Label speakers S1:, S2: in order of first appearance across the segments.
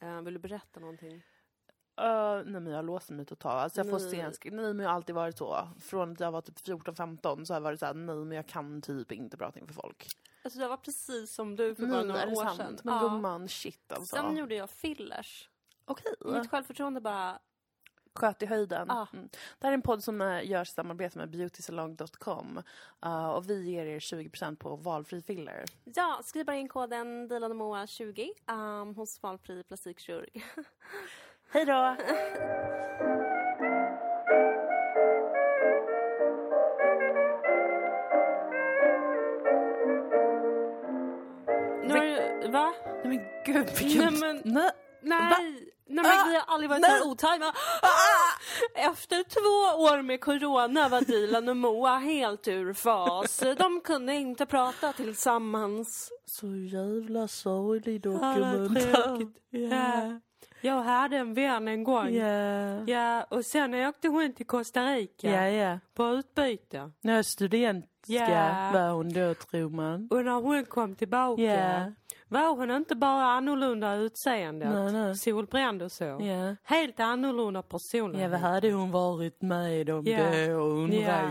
S1: Eh, vill du berätta någonting?
S2: Eh, nej men jag låser mig totalt. Alltså jag får
S1: Nej.
S2: scenskräck. Nej men jag har alltid varit så. Från att jag var typ 14-15 så har jag varit såhär, nej men jag kan typ inte prata inför folk.
S1: Alltså jag var precis som du för bara
S2: Nej, är
S1: några
S2: det
S1: år
S2: sant?
S1: sedan.
S2: Men
S1: Ja.
S2: gumman, shit alltså.
S1: Sen gjorde jag fillers.
S2: Okej.
S1: Mitt självförtroende bara...
S2: Sköt i höjden.
S1: Ja.
S2: Mm. Det här är en podd som eh, görs i samarbete med beautysalong.com. Eh, och vi ger er 20% på valfri filler.
S1: Ja, skriv bara in koden DILANOMOA20 um, hos valfri plastikkirurg.
S2: Hej då!
S1: Nu har du... Va?
S2: Nej men gud vilken...
S1: Nej, men-
S2: Nej. Va?
S1: Nej! Nej men
S2: Ah!
S1: vi har aldrig varit så
S2: Nej! Ah!
S1: här otajmade. Efter två år med corona var Dilan och Moa helt ur fas. De kunde inte prata tillsammans.
S2: Så jävla sorglig
S1: Ja. Jag hade en vän en gång.
S2: Ja.
S1: Ja, och sen åkte hon till Costa Rica
S2: ja.
S1: på utbyte.
S2: När studentska
S1: Ja.
S2: var hon då tror man.
S1: Och när hon kom tillbaka
S2: Ja.
S1: var hon inte bara annorlunda i utseendet,
S2: Nej, nej.
S1: solbränd och så. Mm.
S2: Ja.
S1: Helt annorlunda
S2: Ja,
S1: personlighet.
S2: vad hade hon varit med om
S1: Ja.
S2: det undrar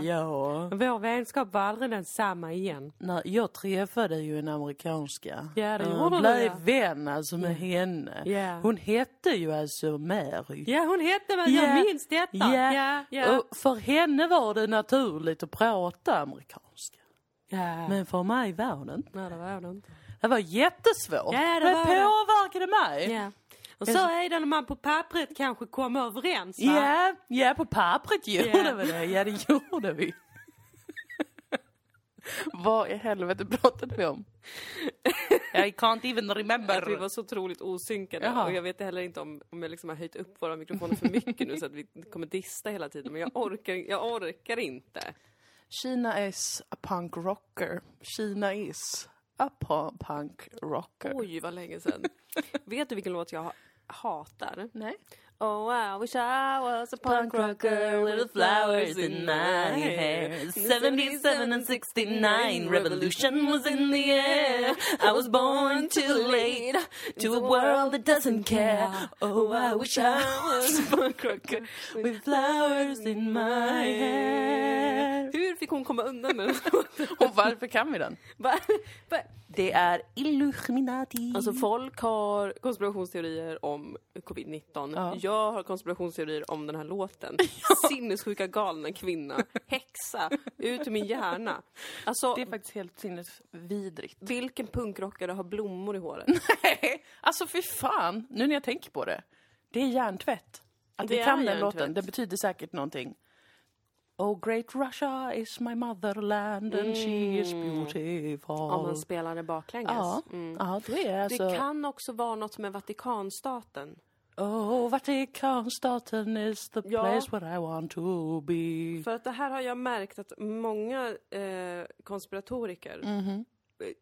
S1: Ja.
S2: jag.
S1: Vår vänskap var aldrig densamma igen.
S2: Nej, jag träffade ju en amerikanska.
S1: Ja, det
S2: Och
S1: gjorde du,
S2: blev
S1: ja. Mm.
S2: vän alltså med henne.
S1: Ja.
S2: Hon hette ju alltså Mary.
S1: Ja, hon hette väl,
S2: Ja.
S1: jag minns detta. Ja, ja.
S2: Och för henne var det naturligt att prata amerikanska.
S1: ja.
S2: Men för mig var det inte.
S1: Nej, det var det inte.
S2: Det var jättesvårt.
S1: Ja, det var det.
S2: påverkade mig.
S1: Ja. Och så är det när man på pappret kanske kommer överens, va?
S2: Ja, ja på pappret gjorde
S1: Ja.
S2: vi det. er. Ja, det gjorde vi. Vad i helvete pratade vi om? I can't even
S1: Att vi
S2: remember.
S1: var så otroligt osynkade
S2: Jaha.
S1: och jag vet heller inte om, om jag liksom har höjt upp våra mikrofoner för mycket nu så att vi kommer dista hela tiden men jag orkar, jag orkar inte.
S2: Kina is a punk rocker. Kina is a pu- punk rocker.
S1: Oj vad länge sedan. vet du vilken låt jag ha- hatar?
S2: Nej.
S1: Oh I wish I was a
S2: Punk rocker with flowers in my hair. 77 and 69 revolution was in the air. I was born too late to a world that doesn't care. Oh, I wish I was a punk rocker with flowers in my hair.
S1: Hur fick hon komma undan med den
S2: Och varför kan vi den?
S1: Va- va-
S2: Det är Illuminati.
S1: Alltså folk har konspirationsteorier om covid-19.
S2: Ja.
S1: Jag har konspirationsteorier om den här låten. Sinnessjuka galna kvinna. Häxa. Ut ur min hjärna. Alltså,
S2: det är faktiskt helt sinnesvidrigt.
S1: vilken punkrockare har blommor i håret?
S2: Nej, alltså fy fan, nu när jag tänker på det. Det är hjärntvätt. Att
S1: Det
S2: vi
S1: är
S2: kan den
S1: hjärntvätt.
S2: låten, det betyder säkert någonting. Oh great Russia is my motherland and she is beautiful.
S1: Om man spelar den baklänges.
S2: ja, ja, det är
S1: Det
S2: alltså...
S1: kan också vara något med Vatikanstaten.
S2: Oh, Vatikanstaten is the
S1: Ja.
S2: place where I want to be.
S1: För att det här har jag märkt att många eh, konspiratoriker
S2: Mhm.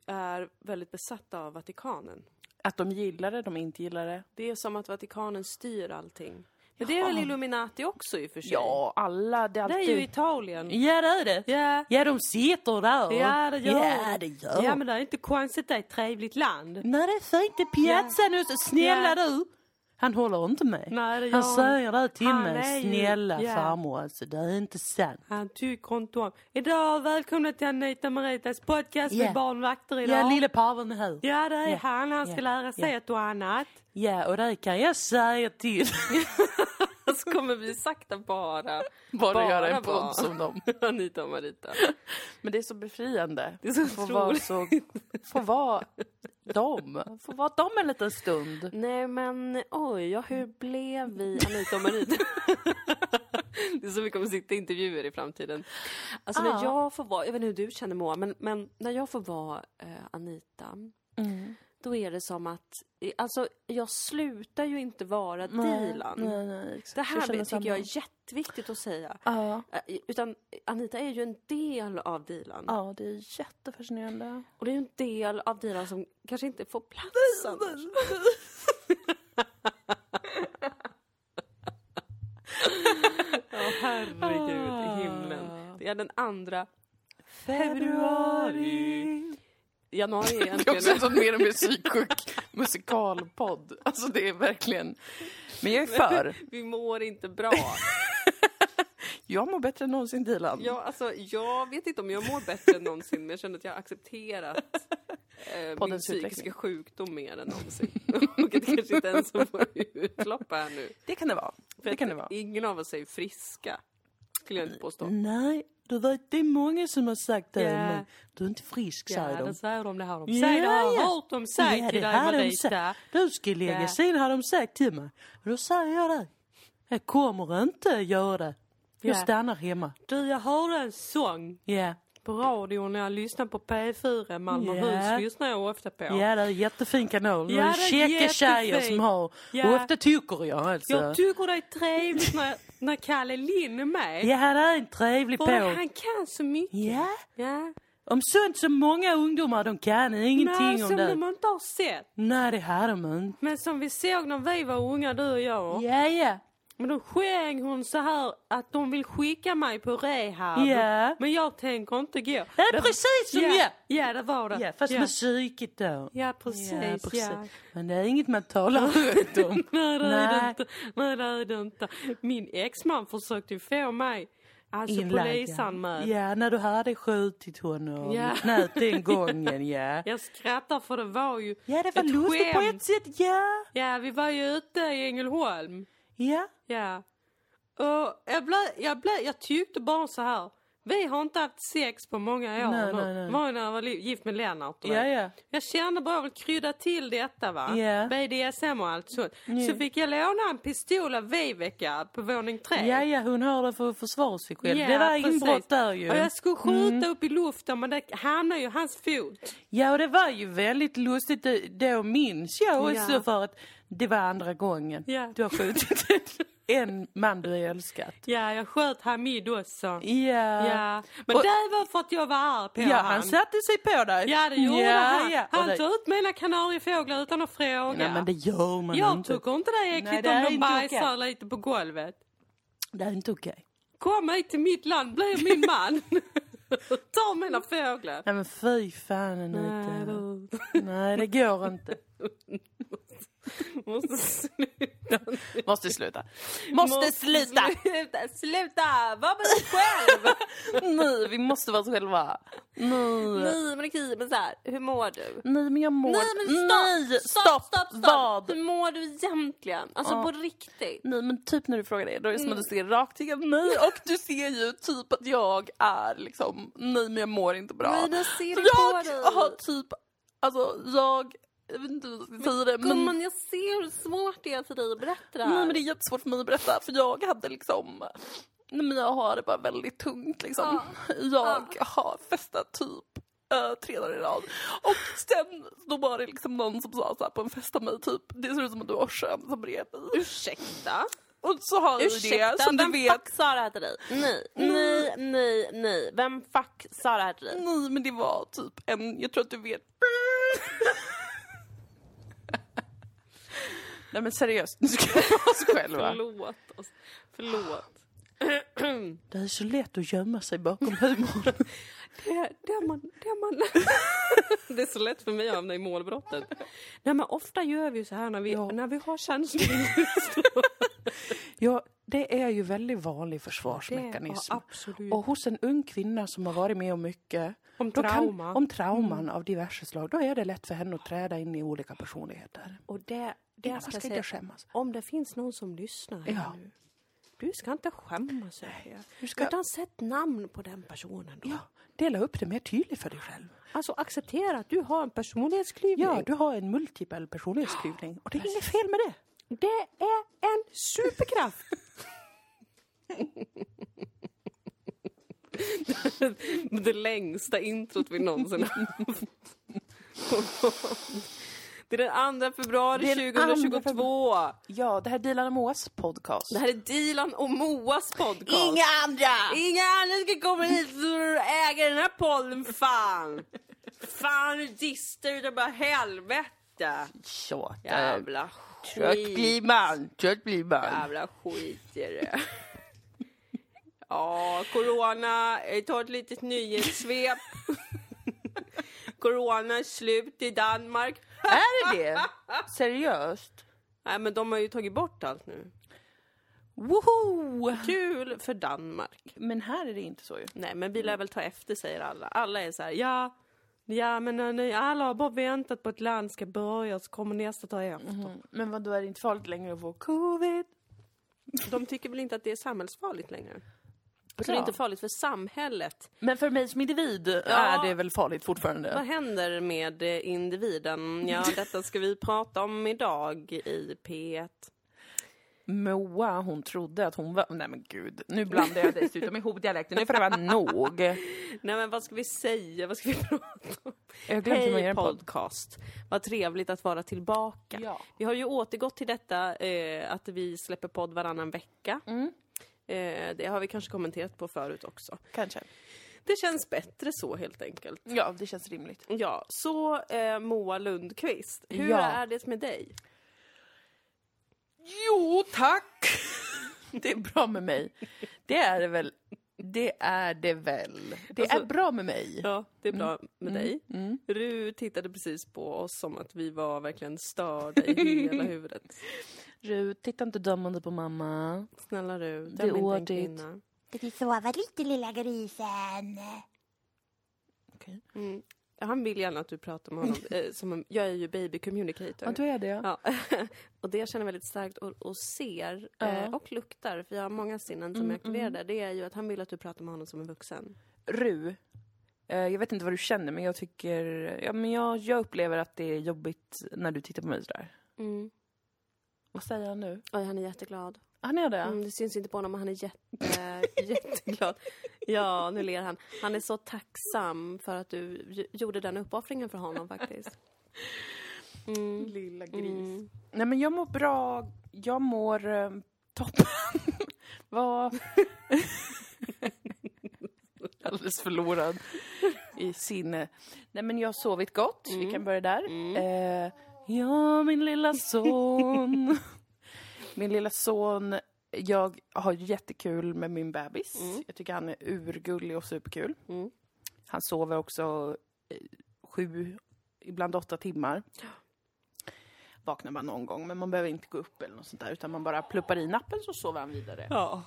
S1: är väldigt besatta av Vatikanen.
S2: Att de gillar det, de inte gillar det.
S1: Det är som att Vatikanen styr allting. Men det är väl Illuminati också i och för sig?
S2: Ja, alla, det är
S1: Det
S2: alltid...
S1: är ju Italien.
S2: Ja, det är det.
S1: Ja.
S2: Ja, de sitter där.
S1: Ja, det gör
S2: Ja, det gör
S1: Ja, men det är inte konstigt. Det är ett trevligt land.
S2: Nej det är fint, det är piazzan och så, snälla
S1: Ja.
S2: du! Han håller inte med.
S1: Nej, det gör
S2: han
S1: han
S2: säger det till
S1: Han är
S2: mig,
S1: ju-
S2: snälla
S1: ja.
S2: farmor alltså, det är inte sant.
S1: Han tycker inte om... Idag, välkomna till Anita Maritas podcast
S2: Ja.
S1: med barnvakter idag.
S2: Ja, lille paven är här.
S1: Ja, det är
S2: Ja.
S1: han. Han ska
S2: Ja.
S1: lära sig ett och annat.
S2: Ja, och det kan jag säga till.
S1: Så kommer vi sakta bara...
S2: Bara, göra en
S1: bara.
S2: podd som dem.
S1: Anita och Marita.
S2: Men det är så befriande.
S1: Det är så
S2: Få
S1: otroligt.
S2: vara så, få vara dem. Få vara dem en liten stund.
S1: Nej men oj, ja, hur blev vi Anita och Marita? det är så vi kommer sitta i intervjuer i framtiden. Alltså när
S2: Ja.
S1: jag får vara, jag vet inte hur du känner Moa, men, men när jag får vara eh, Anita, Mm. då är det som att, alltså jag slutar ju inte vara Dilan.
S2: Nej, nej, exakt.
S1: Det här
S2: känner
S1: tycker jag
S2: samma.
S1: är jätteviktigt att säga.
S2: Ja,
S1: Eh, Utan Anita är ju en del av Dilan.
S2: ja, det är jättefascinerande.
S1: Och det är ju en del av Dilan som kanske inte får plats annars. Ja, herregud i
S2: Ah.
S1: himlen. Det är den andra Februari. januari
S2: Det är också
S1: egentligen.
S2: en sån mer och mer psyksjuk musikalpodd. Alltså det är verkligen... Men jag är för.
S3: Vi mår inte bra.
S2: Jag mår bättre än någonsin Dilan.
S3: Jag, alltså, jag vet inte om jag mår bättre än någonsin, men jag känner att jag har accepterat eh, min
S2: Poddens
S3: psykiska
S2: utveckling.
S3: sjukdom mer än någonsin. Och det kanske inte ens får utlopp här nu.
S2: Det kan det vara. Det kan det vara.
S3: Ingen av oss är ju friska, skulle jag inte påstå.
S2: Nej, du vet det är många som har sagt det
S3: Ja.
S2: men du är inte frisk säger de.
S3: säger de, det har de.
S2: Ja,
S3: Säg det, har
S2: ja.
S3: jag hört dem säga till dig
S2: har de
S3: Marita.
S2: sagt. Du ska lägga
S3: Ja.
S2: sen har de sagt till mig. Och då säger jag det. Jag kommer inte att göra det. Jag
S3: Ja.
S2: stannar hemma.
S3: Du, jag hörde en sång
S2: Ja,
S3: på radion när jag lyssnade på P4 Malmöhus,
S2: Ja.
S3: lyssnar jag ofta på.
S2: ja det är en jättefin kanal.
S3: Ja,
S2: det är
S3: det är
S2: käcka tjejer
S3: jättefin.
S2: som har.
S3: Ja.
S2: Och ofta tycker jag alltså.
S3: Jag tycker det är trevligt när, när Kalle Lind är med.
S2: ja, det är en trevlig
S3: För
S2: på.
S3: han kan så mycket.
S2: Ja,
S3: Ja.
S2: om sånt som många ungdomar de kan ingenting
S3: Nej,
S2: om
S3: som
S2: det.
S3: de inte har sett.
S2: Nej, det har de inte.
S3: Men som vi såg när vi var unga, du och jag.
S2: Ja, ja.
S3: Men då sjöng hon så här att de vill skicka mig på rehab.
S2: Ja.
S3: Men jag tänker inte gå.
S2: Det är precis som
S3: ja,
S2: jag.
S3: ja, det var det.
S2: Ja, fast
S3: ja.
S2: med psyket då.
S3: ja precis. Ja,
S2: Ja, precis. Men det är inget man talar högt om.
S3: Nej, det är det
S2: Nej.
S3: inte. Nej, det är det inte. Min exman försökte ju få mig, alltså
S2: Inlagd, ja.
S3: polisanmäld.
S2: Ja, när du hade skjutit honom.
S3: Ja.
S2: Nej, den gången, ja.
S3: Jag skrattar för det var ju
S2: Ja, det var
S3: ett
S2: lustigt på
S3: skämt.
S2: ett sätt, ja.
S3: Ja, vi var ju ute i Ängelholm.
S2: Ja,
S3: Ja. Och jag, blev, jag, blev, jag tyckte bara så här. Vi har inte haft sex på många år
S2: Nej,
S3: nu.
S2: nej, nej.
S3: var ju när jag var li- gift med Lennart. och
S2: ja,
S3: det.
S2: ja.
S3: Jag kände bara jag vill krydda till detta va.
S2: Ja.
S3: BDSM och allt sånt. Så fick jag låna en pistol av Viveka på våning tre.
S2: Ja, ja, hon har det för att försvara sig själv.
S3: Ja,
S2: det var
S3: precis.
S2: inbrott där ju. Mm.
S3: Och jag skulle skjuta upp i luften men det hamnade ju i hans fot.
S2: Ja, och det var ju väldigt lustigt. Det- Då minns jag också
S3: Ja.
S2: för att det var andra gången
S3: Ja.
S2: du har skjutit en man du älskat.
S3: Ja, jag sköt Hamid också.
S2: Ja.
S3: Ja. Men
S2: Och-
S3: det var för att jag var arg på
S2: Ja,
S3: han.
S2: han satte sig på dig.
S3: Ja det gjorde han.
S2: och
S3: Han
S2: det-
S3: tog ut mina kanariefåglar utan att fråga.
S2: Nej, men det gör man
S3: jag
S2: inte.
S3: tycker inte det är
S2: Nej,
S3: äckligt
S2: det är
S3: om de
S2: inte
S3: bajsar lite på golvet.
S2: Det är inte okej.
S3: Kom hit till mitt land, bli min man. Ta mina fåglar. Äh,
S2: Nej men fy fan
S3: Nej,
S2: Anita.
S3: du
S2: Nej det går inte.
S3: måste sluta.
S2: Måste sluta. Måste, sluta.
S3: Sluta, sluta. Var med dig själv.
S2: Nej vi måste vara oss själva. Nej.
S3: Nej men okej, men så här, hur mår du?
S2: Nej men jag mår...
S3: Nej men stopp!
S2: Nej,
S3: stopp,
S2: stopp,
S3: stopp, stopp.
S2: Vad?
S3: Hur mår du egentligen? Alltså
S2: Ja.
S3: på riktigt.
S2: Nej men typ när du frågar det, då är det som att du ser rakt igenom mig och du ser ju typ att jag är liksom, nej men jag mår inte bra.
S3: Nej, jag ser det på dig.
S2: jag har typ, alltså jag, jag vet inte hur jag ska säga det men
S3: Gumman, jag ser hur svårt det är för dig att berätta det här.
S2: Nej men det är jättesvårt för mig att berätta för jag hade liksom Nej men jag har det bara väldigt tungt liksom. Jag har festat typ eh, tre dagar i rad. Och sen då var det liksom någon som sa så här på en fest av mig typ det ser ut som att du har kön som bredvid dig.
S3: Ursäkta?
S2: Och så har jag ju det
S3: Ursäkta,
S2: som du
S3: vem
S2: vet. Mm.
S3: fuck sa det här till dig? Nej, nej, nej, nej. Vem fuck sa det här till dig?
S2: Nej men det var typ en, jag tror att du vet. Nej men seriöst, nu ska vi vara oss själva.
S3: Förlåt oss. Förlåt.
S2: Det är så lätt att gömma sig bakom humorn.
S3: Det, det, man, det, man. det är så lätt för mig att hamna i målbrottet. Nej men ofta gör vi ju så här när vi, när vi har känslor.
S2: Ja, det är ju väldigt vanlig
S3: Det
S2: försvarsmekanism.
S3: är- ja, absolut.
S2: Och hos en ung kvinna som har varit med om Mm. mycket,
S3: Om
S2: då kan-
S3: trauma.
S2: om trauman av diverse slag, då är det lätt för henne att träda in i olika personligheter.
S3: Och det, det
S2: Ja,
S3: jag
S2: man
S3: ska
S2: ska
S3: säga,
S2: inte skämmas.
S3: om det finns någon som lyssnar här
S2: Ja.
S3: nu. Du ska inte skämmas över det.
S2: du ska-
S3: Utan sätt namn på den personen då.
S2: Ja, dela upp det mer tydligt för dig själv.
S3: Alltså acceptera att du har en personlighetsklyvning.
S2: Ja, du har en multipel personlighetsklyvning och det är inget fel med det.
S3: Det är en superkraft. det längsta introt vi någonsin haft. Det är den 2 februari
S2: Det är den
S3: 2022.
S2: andra Ja, det här är Dilan och Moas podcast.
S3: Det här är Dilan och Moas podcast.
S2: andra!
S3: Inga andra ska komma hit och äga den här podden, fan! Fan, du distar utav bara helvete!
S2: Så, äh,
S3: Jävla
S2: trött
S3: skit!
S2: blir man, trött blir man.
S3: Jävla skit är det. Ja, corona, eh, ta ett litet nyhetssvep. corona är slut i Danmark.
S2: Är det det? Seriöst?
S3: Nej men de har ju tagit bort allt nu.
S2: Woho!
S3: Kul för Danmark.
S2: Men här är det inte så ju.
S3: Nej men vi lär väl ta efter säger alla. Alla är så här, ja, ja men eh, ni alla har bara väntat på att land ska börja så kommer nästa ta efter.
S2: Men vad då är det inte farligt längre att få covid?
S3: De tycker väl inte att det är samhällsfarligt längre. Så det är
S2: Bra.
S3: inte farligt för samhället.
S2: Men för mig som individ är det väl farligt fortfarande?
S3: Vad händer med eh, individen? Ja, detta ska vi prata om idag i P1.
S2: Moa, hon trodde att hon var... Nej men gud, nu blandar jag dessutom ihop dialekterna. Nu får det vara nog.
S3: Nej men vad ska vi säga? Vad ska vi prata om?
S2: Jag har glömt hur man gör
S3: Hej
S2: en podd.
S3: podcast! Vad trevligt att vara tillbaka.
S2: Ja.
S3: Vi har ju återgått till detta eh, att vi släpper podd varannan vecka.
S2: Mm.
S3: Eh, det har vi kanske kommenterat på förut också.
S2: Kanske.
S3: Det känns bättre så helt enkelt.
S2: Ja, det känns rimligt.
S3: Ja, så eh, Moa Lundqvist, hur
S2: Ja.
S3: är det med dig?
S2: Jo, tack! Det är bra med mig. Det är det väl. Det är det väl. Det är bra med mig.
S3: Ja, det är bra
S2: Mm.
S3: med dig. Ru tittade precis på oss som att vi var verkligen störda i hela huvudet.
S2: Ru, titta inte dömande på mamma.
S3: Snälla Ru,
S2: Det är
S3: döm inte en
S2: ordigt.
S3: kvinna.
S4: Du vill sova lite lilla grisen.
S2: Okej.
S3: Mm. Han vill gärna att du pratar med honom. Eh, som en, jag är ju baby communicator.
S2: Ja, du är det.
S3: Ja. och det jag känner väldigt starkt och, och ser
S2: Ja.
S3: eh,
S2: Mm,
S3: och luktar, för jag har många sinnen som är aktiverade, det är ju att han vill att du pratar med honom som en vuxen.
S2: Ru, eh, jag vet inte vad du känner men jag tycker, ja men jag, jag upplever att det är jobbigt när du tittar på mig sådär.
S4: Mm.
S2: Vad säger han nu?
S3: Oj, han är jätteglad.
S2: Han är det?
S3: Mm, det syns inte på honom, men han är jätte, jätteglad. Ja, nu ler han. Han är så tacksam för att du gj- gjorde den uppoffringen för honom faktiskt. Mm.
S2: Lilla gris.
S3: Mm.
S2: Nej men jag mår bra, jag mår eh, toppen. vad... Alldeles förlorad i sinne. Nej men jag har sovit gott, vi kan börja där. Eh, ja, min lilla son. min lilla son, jag har jättekul med min bebis. Jag tycker han är urgullig och superkul.
S3: Mm.
S2: Han sover också eh, sju, ibland åtta timmar. Vaknar man någon gång, men man behöver inte gå upp eller något sånt där, utan man bara pluppar i nappen så sover han vidare.
S3: Ja.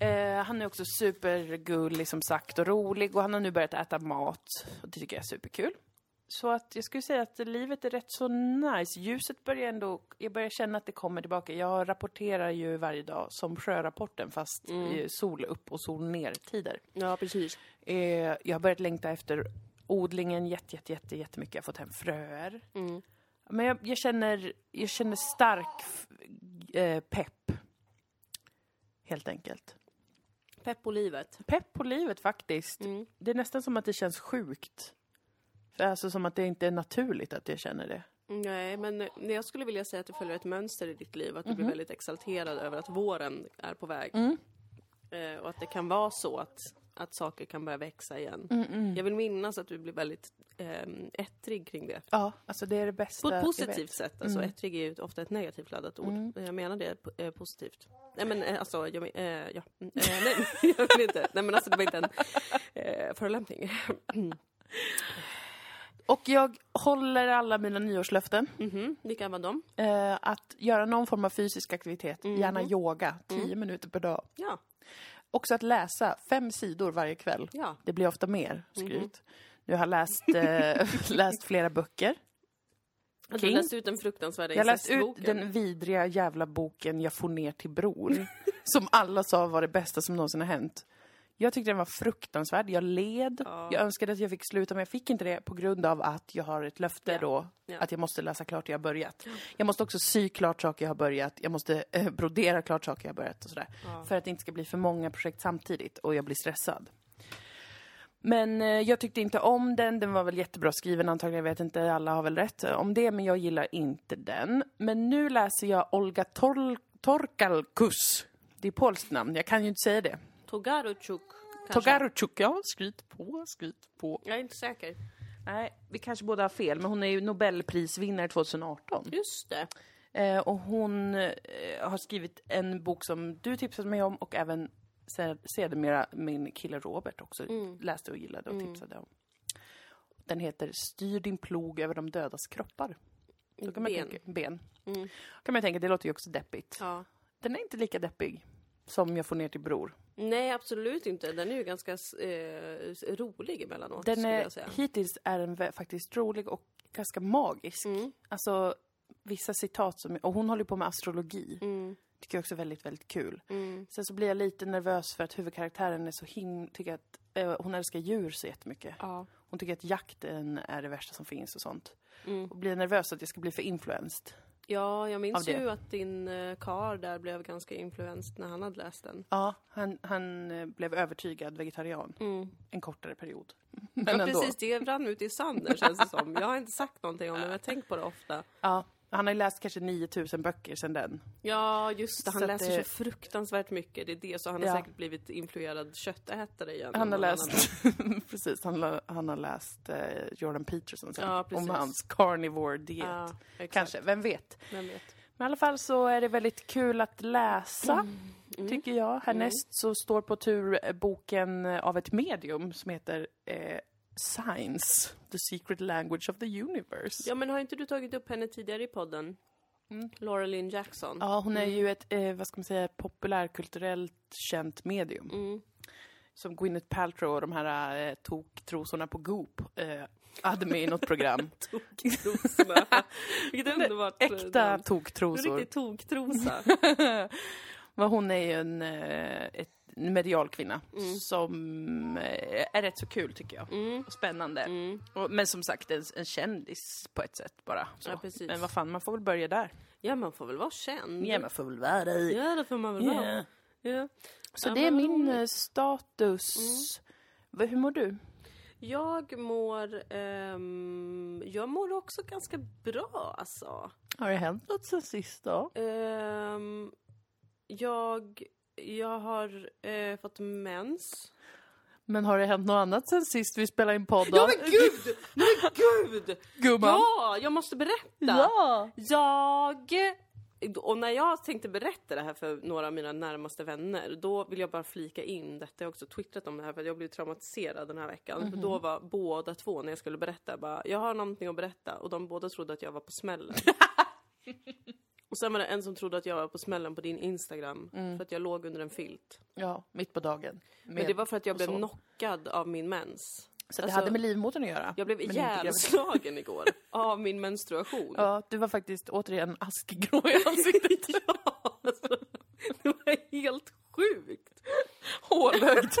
S2: Eh, han är också supergullig som sagt och rolig och han har nu börjat äta mat. Och det tycker jag är superkul. Så att jag skulle säga att livet är rätt så nice. Ljuset börjar ändå, jag börjar känna att det kommer tillbaka. Jag rapporterar ju varje dag som sjörapporten fast i sol upp och sol ner tider.
S3: ja, precis.
S2: Eh, jag har börjat längta efter odlingen jätte, jätte, jätte, jättemycket. Jag har fått hem fröer. Men jag, jag, känner, jag känner stark f- eh, pepp. Helt enkelt.
S3: Pepp på livet.
S2: Pepp på livet faktiskt.
S3: Mm.
S2: Det är nästan som att det känns sjukt. För Alltså som att det inte är naturligt att jag känner det.
S3: Nej, men eh, jag skulle vilja säga att det följer ett mönster i ditt liv. Att du blir väldigt exalterad över att våren är på väg. Eh, och att det kan vara så att, att saker kan börja växa igen. Jag vill minnas att du blir väldigt eh, ettrig kring det.
S2: Ja, alltså det är det
S3: På
S2: bästa
S3: ett
S2: jag
S3: positivt
S2: vet. Mm.
S3: sätt. Alltså, Ettrig är ju ofta ett negativt laddat ord. Jag menar det eh, positivt. Nej men eh, alltså, jag, men- eh, ja. Mm, eh, nej, jag vill inte. Nej men alltså det var inte en eh, förolämpning.
S2: Och jag håller alla mina nyårslöften.
S3: Mhm, Vilka var de?
S2: Eh, att göra någon form av fysisk aktivitet,
S3: Mm.
S2: gärna yoga, 10 minuter per dag.
S3: Ja,
S2: Också att läsa fem sidor varje kväll.
S3: ja.
S2: Det blir ofta mer
S3: Mm-hmm.
S2: skryt. Nu har jag läst, eh, läst flera böcker.
S3: Du
S2: King.
S3: Alltså, läste ut den fruktansvärda
S2: Jag har läst ut
S3: incestboken.
S2: den vidriga jävla boken Jag får ner till bror. som alla sa var det bästa som någonsin har hänt. Jag tyckte den var fruktansvärd. Jag led. Jag önskade att jag fick sluta men jag fick inte det på grund av att jag har ett löfte då.
S3: Ja.
S2: Att jag måste läsa klart det jag har börjat. Jag måste också sy klart saker jag har börjat. Jag måste eh, brodera klart saker jag har börjat och sådär. För att det inte ska bli för många projekt samtidigt och jag blir stressad. Men eh, jag tyckte inte om den. Den var väl jättebra skriven antagligen. Jag vet inte, alla har väl rätt eh, om det. Men jag gillar inte den. Men nu läser jag Olga Tor- Torkalkus. Det är polskt namn. Jag kan ju inte säga det.
S3: Togaruchuk. kanske.
S2: Togaruchuk, ja. Skryt på, skryt på.
S3: Jag är inte säker.
S2: Nej, vi kanske båda har fel. Men hon är ju Nobelprisvinnare 2018.
S3: Just det.
S2: Eh, och hon eh, har skrivit en bok som du tipsade mig om och även se- sedermera min kille Robert också
S3: Mm.
S2: läste och gillade och tipsade om. Den heter Styr din plog över de dödas kroppar. Då kan man
S3: Ben.
S2: Tänka, ben.
S3: Mm.
S2: kan man ju tänka, det låter ju också deppigt.
S3: Ja.
S2: Den är inte lika deppig som jag får ner till bror.
S3: Nej, absolut inte. Den är ju ganska eh, rolig emellanåt,
S2: Den
S3: skulle
S2: är,
S3: jag säga.
S2: hittills är den vä- faktiskt rolig och ganska magisk.
S3: Mm.
S2: Alltså, vissa citat som... Och hon håller ju på med astrologi.
S3: Mm.
S2: Tycker jag också är väldigt, väldigt kul.
S3: Mm.
S2: Sen så blir jag lite nervös för att huvudkaraktären är så him... Tycker att eh, hon älskar djur så jättemycket.
S3: Ja.
S2: Hon tycker att jakten är det värsta som finns och sånt.
S3: Mm.
S2: Och blir nervös att jag ska bli för influenced.
S3: ja, jag
S2: Av
S3: minns
S2: det.
S3: ju att din eh, kar där blev ganska influensad när han hade läst den.
S2: Ja, han, han eh, blev övertygad vegetarian. En kortare period. Men
S3: Mm. Ja,
S2: ändå.
S3: precis, det rann ut i sanden känns det som. Jag har inte sagt någonting om det, men jag har tänkt på det ofta.
S2: Ja, han har ju läst kanske 9000 böcker sedan den.
S3: Ja, just det. Han
S2: Så att
S3: läser
S2: det-
S3: så fruktansvärt mycket. Det är det, så han
S2: Ja.
S3: har säkert blivit influerad köttätare igen.
S2: Han har
S3: Någon annan.
S2: läst, precis, han, la- han har läst eh, Jordan Peterson sen,
S3: Ja,
S2: om
S3: precis.
S2: hans carnivore diet.
S3: Ja, exakt.
S2: Kanske, vem vet?
S3: Vem vet.
S2: Men i alla fall så är det väldigt kul att läsa,
S3: Mm.
S2: tycker jag. Härnäst så står på tur eh, boken eh, av ett medium som heter eh, Science, The Secret Language of the Universe.
S3: Ja, men har inte du tagit upp henne tidigare i podden? Laura Lynn Jackson.
S2: Mm. Ja, hon är
S3: Mm.
S2: ju ett, eh, vad ska man säga, populärkulturellt känt medium.
S3: Mm.
S2: Som Gwyneth Paltrow och de här eh, toktrosorna på Goop eh, hade med i något program.
S3: Toktrosorna. Vilket underbart. eh,
S2: Äkta
S3: namn. En
S2: toktrosor.
S3: riktig toktrosa.
S2: Men hon är ju en, eh, ett, en medial kvinna
S3: Mm.
S2: som eh, är rätt så kul tycker jag. Och spännande.
S3: Mm.
S2: Och, men som sagt en, en kändis på ett sätt bara. Så.
S3: Ja, precis.
S2: men vad fan, man får väl börja där.
S3: Ja, man får väl vara känd.
S2: Ja, man får väl vara i.
S3: Mm. Ja, det får man väl vara. Ja.
S2: Så
S3: Ja,
S2: det är
S3: men
S2: min
S3: vad roligt. Mm.
S2: eh, status. Va- Hur mår du?
S3: Jag mår... ehm, jag mår också ganska bra, alltså.
S2: Har det hänt något sen sist då?
S3: Ehm, jag, jag har eh, fått mens.
S2: Men har det hänt något annat sen sist vi spelade in podden?
S3: Ja men gud! Men gud!
S2: Gumman!
S3: Ja, jag måste berätta!
S2: Ja!
S3: Jag... Och när jag tänkte berätta det här för några av mina närmaste vänner, då vill jag bara flika in detta. Jag har också twittrat om det här för att jag blev traumatiserad den här veckan. För då var båda två, när jag skulle berätta, bara “jag har någonting att berätta” och de båda trodde att jag var på smällen. och sen var det en som trodde att jag var på smällen på din Instagram, för att jag låg under en filt.
S2: Ja, mitt på dagen.
S3: Men det var för att jag
S2: och
S3: blev
S2: så.
S3: knockad av min mens.
S2: Så det
S3: alltså-
S2: hade med livmodern att göra.
S3: Jag blev
S2: men inte gravid.
S3: ihjälslagen igår av min menstruation.
S2: Ja, du var faktiskt återigen askgrå i ansiktet.
S3: Ja, alltså, det var helt sjukt.
S2: Hålögd.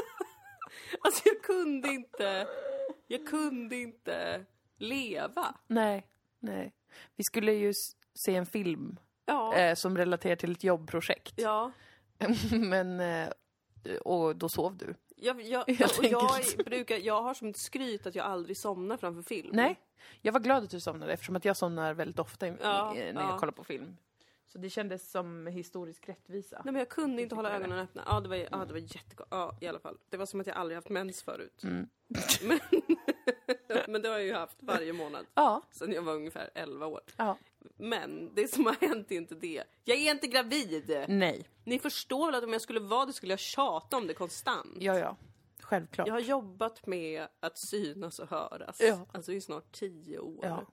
S3: Alltså jag kunde inte, jag kunde inte leva.
S2: nej, nej. Vi skulle ju s- se en film
S3: Ja,
S2: eh, som relaterar till ett jobbprojekt.
S3: ja.
S2: men, eh, och då sov du.
S3: Jag, jag,
S2: Helt
S3: och jag,
S2: enkelt.
S3: brukar, jag har som ett skryt att jag aldrig somnar framför film.
S2: Nej, jag var glad att du somnade eftersom att jag somnar väldigt ofta i,
S3: Ja,
S2: i, när
S3: ja.
S2: jag kollar på film. Så det kändes som historisk rättvisa.
S3: Nej men jag kunde inte hålla
S2: tycker
S3: ögonen öppna. Ja det var, ja, det var jättekonstigt. Ja i alla fall. Det var som att jag aldrig haft mens förut. Men, men det har jag ju haft varje månad.
S2: Ja,
S3: Sen jag var ungefär 11 år.
S2: ja.
S3: Men det som har hänt är inte det. Jag är inte gravid!
S2: Nej.
S3: Ni förstår väl att om jag skulle vara det skulle jag tjata om det konstant.
S2: Ja, ja. Självklart.
S3: Jag har jobbat med att synas och höras.
S2: Ja.
S3: Alltså i snart tio år.
S2: Ja.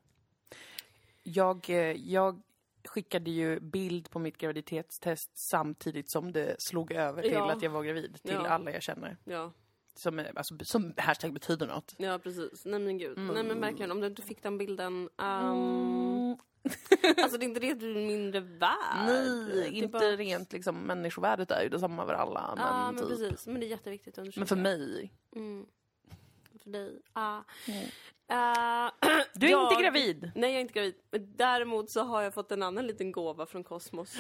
S2: Jag, eh, jag skickade ju bild på mitt graviditetstest samtidigt som det slog över till
S3: Ja.
S2: att jag var gravid till
S3: Ja.
S2: alla jag känner.
S3: ja.
S2: Som, eh, alltså, som hashtag betyder något.
S3: Ja, precis. Nej men gud. Nej men verkligen, om du inte fick den bilden. Um... alltså det är inte det att du är mindre värd. Det är
S2: inte
S3: bara-
S2: rent liksom människovärdet är ju detsamma för alla. Men,
S3: Ja men
S2: typ.
S3: precis. Men det är jätteviktigt att undersöka.
S2: men för mig.
S3: Mm. För dig. Ja. Eh,
S2: Du är
S3: jag-
S2: inte gravid!
S3: Nej, jag är inte gravid. Men däremot så har jag fått en annan liten gåva från Kosmos.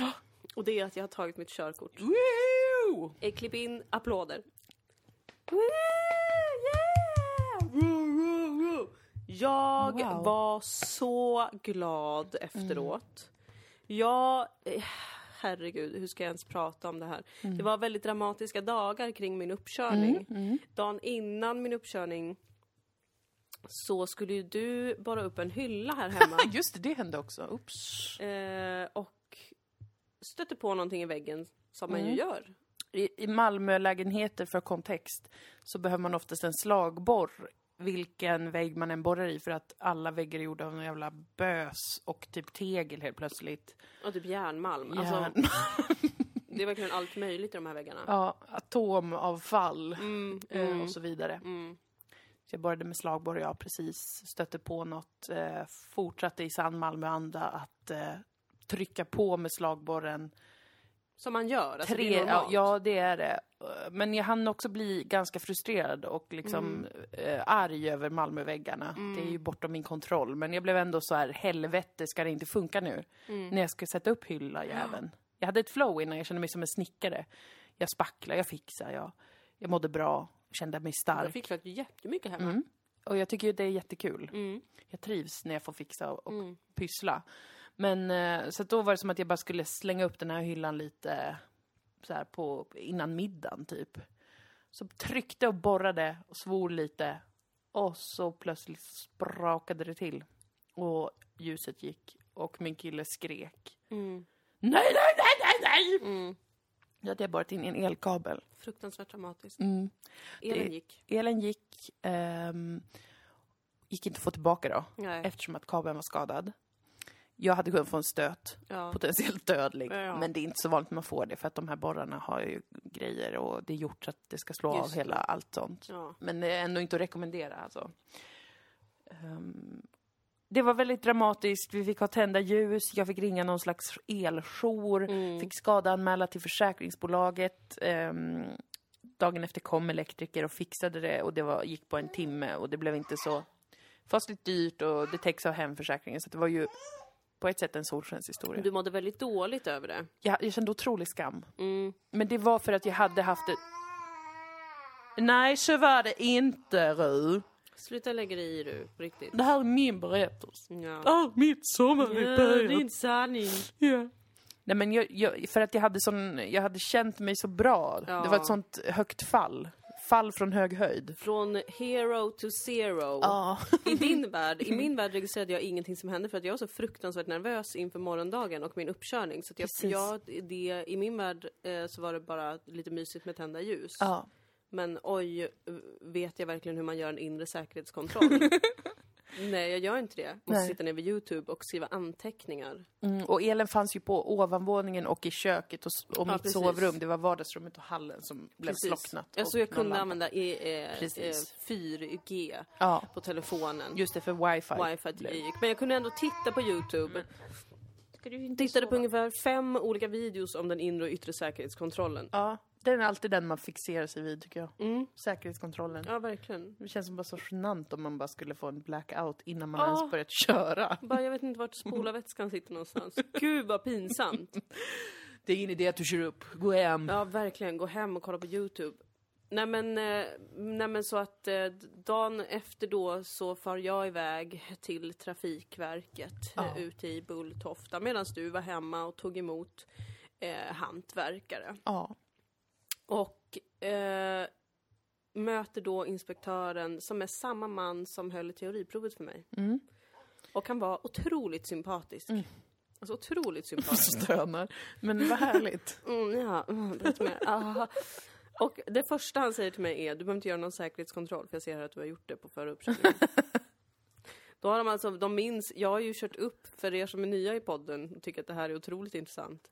S3: Och det är att jag har tagit mitt körkort.
S2: Woo!
S3: Eh, Klipp in applåder. Woo! Yeah! Woo, woo, woo. Jag
S2: Wow.
S3: var så glad efteråt. Jag... eh, Herregud, hur ska jag ens prata om det här? Det var väldigt dramatiska dagar kring min
S2: Mm,
S3: uppkörning. Dagen innan min uppkörning så skulle ju du bara upp en hylla här hemma.
S2: Just det, det hände också. Ups.
S3: Eh, och stötte på någonting i väggen, som man ju gör.
S2: I, i Malmölägenheter för kontext så behöver man oftast en slagborr vilken vägg man än borrar i för att alla väggar är gjorda av någon jävla bös och typ tegel helt plötsligt.
S3: Och typ järnmalm. Alltså,
S2: Järn-
S3: det är verkligen allt möjligt i de här väggarna.
S2: ja, atomavfall
S3: Mm,
S2: eh,
S3: mm,
S2: och så vidare.
S3: mm.
S2: Så jag började med slagborr, jag precis stötte på något. Eh, fortsatte i sann Malmöanda att eh, trycka på med slagborren.
S3: Som man gör. Alltså, det
S2: Tre,
S3: är
S2: ja,
S3: normalt.
S2: ja, det är det. Eh, Men jag hann också bli ganska frustrerad och liksom
S3: Mm.
S2: eh, arg över Malmöväggarna. Det är ju bortom min kontroll. Men jag blev ändå så här, helvete ska det inte funka nu?
S3: Mm.
S2: När jag skulle sätta upp hylla jäveln. Jag hade ett flow innan, jag kände mig som en snickare. Jag spacklade, jag fixade, jag, jag mådde bra. Kände mig stark.
S3: Jag fick faktiskt jättemycket
S2: Mm.
S3: hemma.
S2: Och jag tycker ju det är jättekul. Jag trivs när jag får fixa och pyssla. Men eh, så att då var det som att jag bara skulle slänga upp den här hyllan lite eh, så här på innan middagen typ. Så tryckte och borrade och svor lite. Och så plötsligt sprakade det till. Och ljuset gick och min kille skrek. Nej, nej, nej, nej, nej! Då hade jag borrat in i en elkabel.
S3: Fruktansvärt dramatiskt.
S2: Mm.
S3: Elen
S2: Det-
S3: gick.
S2: Elen gick, ehm, gick inte att få tillbaka då
S3: Nej.
S2: eftersom att kabeln var skadad. Jag hade kunnat få en stöt,
S3: Ja.
S2: potentiellt dödlig,
S3: Ja, ja.
S2: men det är inte så vanligt man får det för att de här borrarna har ju grejer och det är gjort så att det ska slå
S3: Just
S2: av hela allt sånt.
S3: Ja.
S2: Men det är ändå inte att rekommendera alltså. Ehm, det var väldigt dramatiskt, vi fick ha tända ljus, jag fick ringa någon slags eljour,
S3: Mm.
S2: fick skadeanmäla till försäkringsbolaget. Ehm, dagen efter kom elektriker och fixade det och det var, gick på en timme och det blev inte så fasligt dyrt och det täcks av hemförsäkringen så att det var ju på ett sätt en solskenshistoria.
S3: Du mådde väldigt dåligt över det.
S2: Jag, jag kände otrolig skam.
S3: Mm.
S2: Men det var för att jag hade haft ett... Nej, så var det inte, Ru.
S3: Sluta lägga dig i du, på riktigt.
S2: Det här är min berättelse.
S3: Ja. Eh,
S2: Ah, mitt sommarvecka.
S3: sanning.
S2: Ja. Nej men jag, jag, för att jag hade sån, jag hade känt mig så bra.
S3: Ja.
S2: Det var ett sånt högt fall. Fall från hög höjd.
S3: Från hero to zero.
S2: Ja.
S3: I din värld, i min värld registrerade jag ingenting som hände för att jag var så fruktansvärt nervös inför morgondagen och min uppkörning. Så att jag,
S2: Precis.
S3: jag, det, i min värld eh, så var det bara lite mysigt med tända ljus.
S2: ja.
S3: Men oj, vet jag verkligen hur man gör en inre säkerhetskontroll? Nej, jag gör inte det. Måste
S2: Nej.
S3: sitta ner vid Youtube och skriva anteckningar.
S2: Mm, och elen fanns ju på ovanvåningen och i köket och, s- och
S3: Ja,
S2: mitt
S3: precis.
S2: sovrum. Det var vardagsrummet och hallen som blev slocknat.
S3: Ja,
S2: och
S3: så Alltså, jag
S2: någon
S3: kunde
S2: lampa.
S3: använda eh, eh,
S2: Precis.
S3: 4G
S2: Ja,
S3: på telefonen.
S2: just det, för wifi.
S3: wifi till gick. Men jag kunde ändå titta på Youtube.
S2: Mm.
S3: Tittade på ungefär fem olika videos om den inre och yttre säkerhetskontrollen.
S2: Ja, den är alltid den man fixerar sig vid tycker jag.
S3: Mm.
S2: Säkerhetskontrollen.
S3: Ja, verkligen.
S2: Det känns som bara så genant om man bara skulle få en blackout innan man
S3: Ja.
S2: ens börjat köra.
S3: Bara, jag vet inte vart spolarvätskan sitter någonstans. Gud vad pinsamt.
S2: Det är ingen idé att du kör upp, gå hem.
S3: Ja, verkligen. Gå hem och kolla på Youtube. Nej men, eh, nej men så att eh, dagen efter då så far jag iväg till Trafikverket
S2: Ja.
S3: eh, ute i Bulltofta medan du var hemma och tog emot eh, hantverkare.
S2: Ja.
S3: Och eh, möter då inspektören som är samma man som höll teoriprovet för mig.
S2: Mm.
S3: Och han var otroligt sympatisk. Alltså otroligt sympatisk.
S2: Stönar. Men vad härligt.
S3: Mm, ja, mm, berätta mer. Ah. Och det första han säger till mig är, du behöver inte göra någon säkerhetskontroll för jag ser här att du har gjort det på förra uppkörningen. Då har de alltså, de minns, jag har ju kört upp, för er som är nya i podden och tycker att det här är otroligt intressant.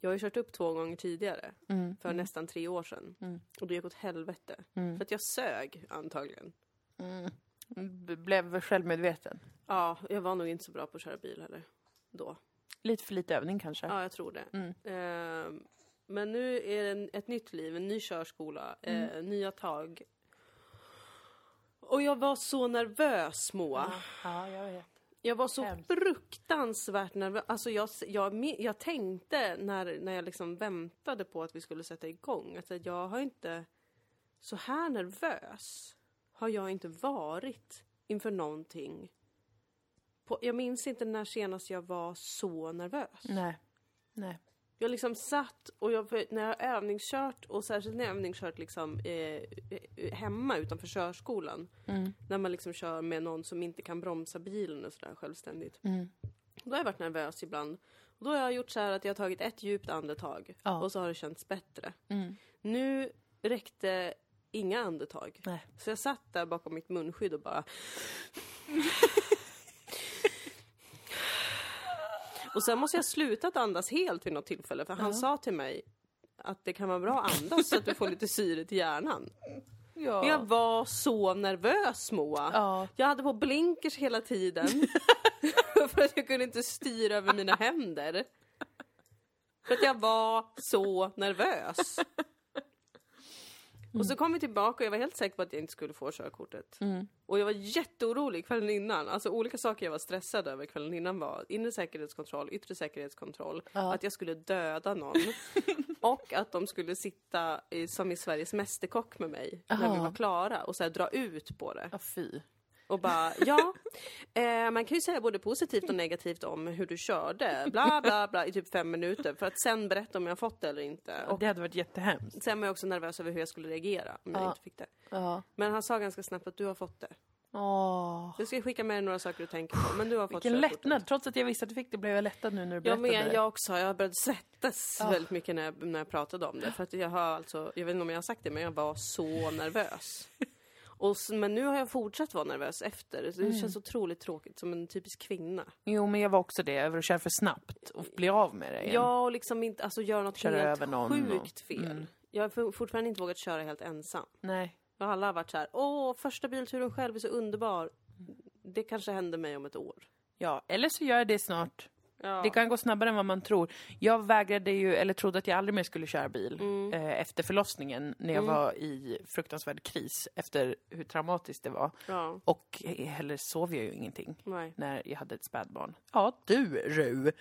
S3: Jag har ju kört upp två gånger tidigare,
S2: Mm.
S3: för nästan tre år sedan. Och det gick åt helvete. För att jag sög antagligen.
S2: Mm. B- Blev självmedveten.
S3: Ja, jag var nog inte så bra på att köra bil heller. Då.
S2: Lite för lite övning kanske.
S3: Ja, jag tror det.
S2: Mm.
S3: Ehm, men nu är det en, ett nytt liv, en ny körskola, eh,
S2: Mm.
S3: nya tag. Och jag var så nervös Moa.
S2: Ja, jag vet.
S3: Jag var så
S2: Hemskt.
S3: fruktansvärt nervös. Alltså jag, jag, me- jag tänkte när, när jag liksom väntade på att vi skulle sätta igång att jag har inte... Så här nervös har jag inte varit inför någonting. På, jag minns inte när senast jag var så nervös.
S2: Nej. Nej.
S3: Jag liksom satt och jag, för när jag har övningskört och särskilt när jag övningskört liksom, eh, eh, hemma utanför körskolan.
S2: Mm.
S3: När man liksom kör med någon som inte kan bromsa bilen och sådär självständigt.
S2: Mm.
S3: Då har jag varit nervös ibland. Och då har jag gjort så här att jag har tagit ett djupt andetag
S2: Ja.
S3: och så har det känts bättre.
S2: Mm.
S3: Nu räckte inga andetag.
S2: Nej.
S3: Så jag satt där bakom mitt munskydd och bara... och sen måste jag sluta att andas helt vid något tillfälle, för han sa till mig att det kan vara bra att andas så att du får lite syre till hjärnan. Men jag
S2: Ja.
S3: var så nervös Moa.
S2: Ja.
S3: Jag hade på blinkers hela tiden. för att jag kunde inte styra över mina händer. För att jag var så nervös. Och så kom vi tillbaka och jag var helt säker på att jag inte skulle få körkortet. Och jag var jätteorolig kvällen innan. Alltså olika saker jag var stressad över kvällen innan var inre säkerhetskontroll, yttre säkerhetskontroll, att jag skulle döda någon och att de skulle sitta i, som i Sveriges Mästerkock med mig när vi
S2: Ja.
S3: var klara och så här, dra ut på det.
S2: Ja, fy.
S3: Och bara, ja, eh, man kan ju säga både positivt och negativt om hur du körde, bla bla bla, i typ fem minuter för att sen berätta om jag fått det eller inte. Och
S2: Det hade varit jättehemskt.
S3: sen var jag också nervös över hur jag skulle reagera om jag
S2: Ja.
S3: inte fick det.
S2: Ja.
S3: Men han sa ganska snabbt att du har fått det.
S2: Åh.
S3: Du ska skicka med dig några saker du tänker på, men du har fått
S2: Vilken
S3: körkortet.
S2: lättnad. Trots att jag visste att du fick det blev jag lättad nu när du
S3: Jag
S2: berättade
S3: med,
S2: det.
S3: jag också. Jag började svettas väldigt mycket när jag, när jag pratade om det. För att jag har alltså, jag vet inte om jag har sagt det, men jag var så nervös. Och, s- men nu har jag fortsatt vara nervös efter. Så Det
S2: Mm.
S3: känns otroligt tråkigt, som en typisk kvinna.
S2: Jo, men jag var också det. Över att köra för snabbt och bli av med det igen.
S3: Ja, och liksom inte, alltså göra något
S2: Köra
S3: helt
S2: över någon och- Mm.
S3: sjukt fel. Jag har for- fortfarande inte vågat köra helt ensam.
S2: Nej.
S3: Och alla har varit så här, åh, första bilturen själv är så underbar. Det kanske händer mig om ett år.
S2: Ja, eller så gör jag det snart.
S3: Ja.
S2: Det kan gå snabbare än vad man tror. Jag vägrade ju, eller trodde att jag aldrig mer skulle köra bil eh, efter förlossningen när jag var i fruktansvärd kris efter hur traumatiskt det var.
S3: Ja,
S2: Och eh, heller sov jag ju ingenting
S3: nej.
S2: när jag hade ett spädbarn. Ja, du Ru!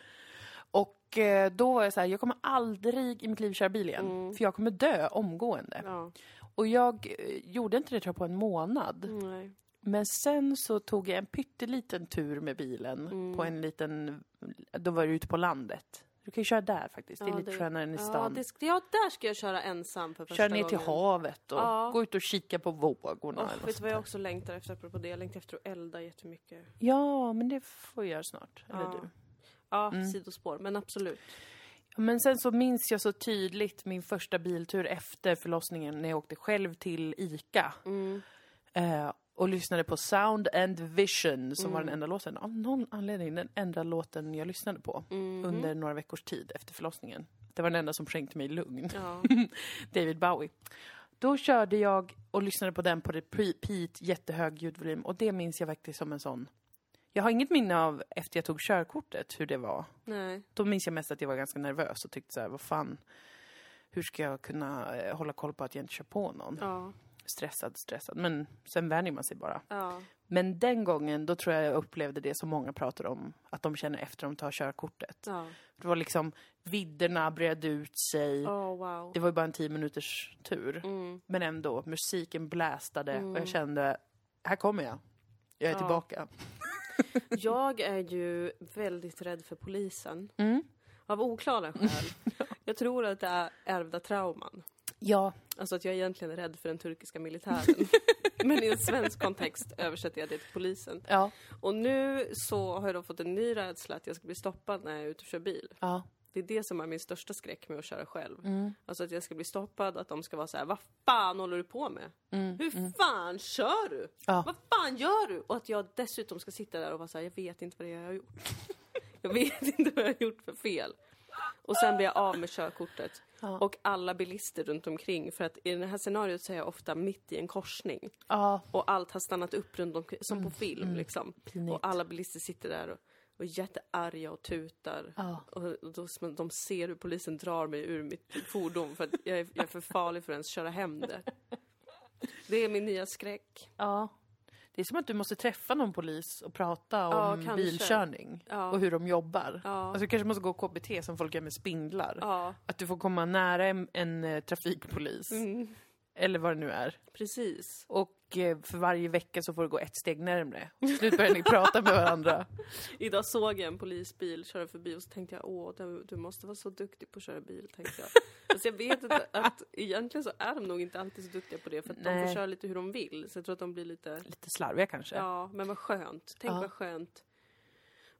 S2: Och eh, då var jag så här, jag kommer aldrig i mitt liv köra bil igen. För jag kommer dö omgående.
S3: Ja,
S2: Och jag eh, gjorde inte det tror jag på en månad.
S3: nej.
S2: Men sen så tog jag en pytteliten tur med bilen
S3: Mm.
S2: på en liten, då var det ute på landet. Du kan ju köra där faktiskt, det är
S3: Ja,
S2: lite skönare än i
S3: Ja,
S2: stan.
S3: det, sk- ja, där ska jag köra ensam för första
S2: Kör ner till
S3: gången.
S2: havet och
S3: Ja.
S2: gå ut och kika på vågorna.
S3: Åh,
S2: eller något
S3: vet du vad
S2: sånt
S3: jag
S2: där.
S3: också längtar efter apropå det? Jag längtar efter att elda jättemycket.
S2: Ja, men det får jag göra snart. Eller
S3: Ja.
S2: du. Mm.
S3: Ja, sidospår, men absolut.
S2: Men sen så minns jag så tydligt min första biltur efter förlossningen när jag åkte själv till ICA. Eh, och lyssnade på Sound and Vision som var den enda låten. Av någon anledning den enda låten jag lyssnade på under några veckors tid efter förlossningen. Det var den enda som skänkte mig lugn.
S3: Ja.
S2: David Bowie. Då körde jag och lyssnade på den på repeat, jättehög ljudvolym. Och det minns jag faktiskt som en sån... Jag har inget minne av efter jag tog körkortet hur det var.
S3: Nej.
S2: Då minns jag mest att jag var ganska nervös och tyckte så här, vad fan, hur ska jag kunna eh, hålla koll på att jag inte kör på någon?
S3: Ja.
S2: Stressad, stressad. Men sen vänjer man sig bara.
S3: Ja.
S2: Men den gången, då tror jag jag upplevde det som många pratar om, att de känner efter de tar körkortet.
S3: Ja.
S2: Det var liksom, vidderna bredde ut sig.
S3: Oh, wow.
S2: Det var ju bara en tio minuters tur. Men ändå, musiken blästade och jag kände, här kommer jag. Jag är
S3: Ja.
S2: tillbaka.
S3: Jag är ju väldigt rädd för polisen. Av oklara skäl. Jag tror att det är ärvda trauman.
S2: Ja,
S3: Alltså att jag egentligen är rädd för den turkiska militären. Men i en svensk kontext översätter jag det till polisen.
S2: ja,
S3: Och nu så har jag då fått en ny rädsla att jag ska bli stoppad när jag är ute och kör bil.
S2: ja.
S3: Det är det som är min största skräck med att köra själv. Alltså att jag ska bli stoppad, att de ska vara så här: vad fan håller du på med? Hur fan kör du?
S2: Ja.
S3: Vad fan gör du? Och att jag dessutom ska sitta där och vara såhär, jag vet inte vad det är jag har gjort. jag vet inte vad jag har gjort för fel. Och sen blir jag av med körkortet. Och alla bilister runt omkring, för att i det här scenariot så är jag ofta mitt i en korsning.
S2: ja.
S3: Och allt har stannat upp runt omkring, som
S2: Mm,
S3: på film liksom.
S2: Pinigt.
S3: Och alla bilister sitter där och, och är jättearga och tutar.
S2: Ja.
S3: Och och då, som de ser hur polisen drar mig ur mitt fordon för att jag är, jag är för farlig för att ens köra hem det. Det är min nya skräck.
S2: Ja. Det är som att du måste träffa någon polis och prata
S3: Ja,
S2: om
S3: kanske.
S2: bilkörning
S3: Ja.
S2: och hur de jobbar.
S3: Ja.
S2: Alltså, du kanske måste gå KBT som folk gör med spindlar.
S3: Ja,
S2: Att du får komma nära en, en eh, trafikpolis.
S3: Mm.
S2: Eller vad det nu är.
S3: precis.
S2: Och eh, för varje vecka så får du gå ett steg närmre. Och till slut börjar ni prata med varandra.
S3: Idag såg jag en polisbil köra förbi och så tänkte jag åh, du, du måste vara så duktig på att köra bil, tänkte jag. Fast jag vet inte att egentligen så är de nog inte alltid så duktiga på det för att de får
S2: Nej.
S3: köra lite hur de vill. Så jag tror att de blir lite
S2: Lite slarviga kanske.
S3: Ja, men vad skönt. Tänk
S2: Ja.
S3: vad skönt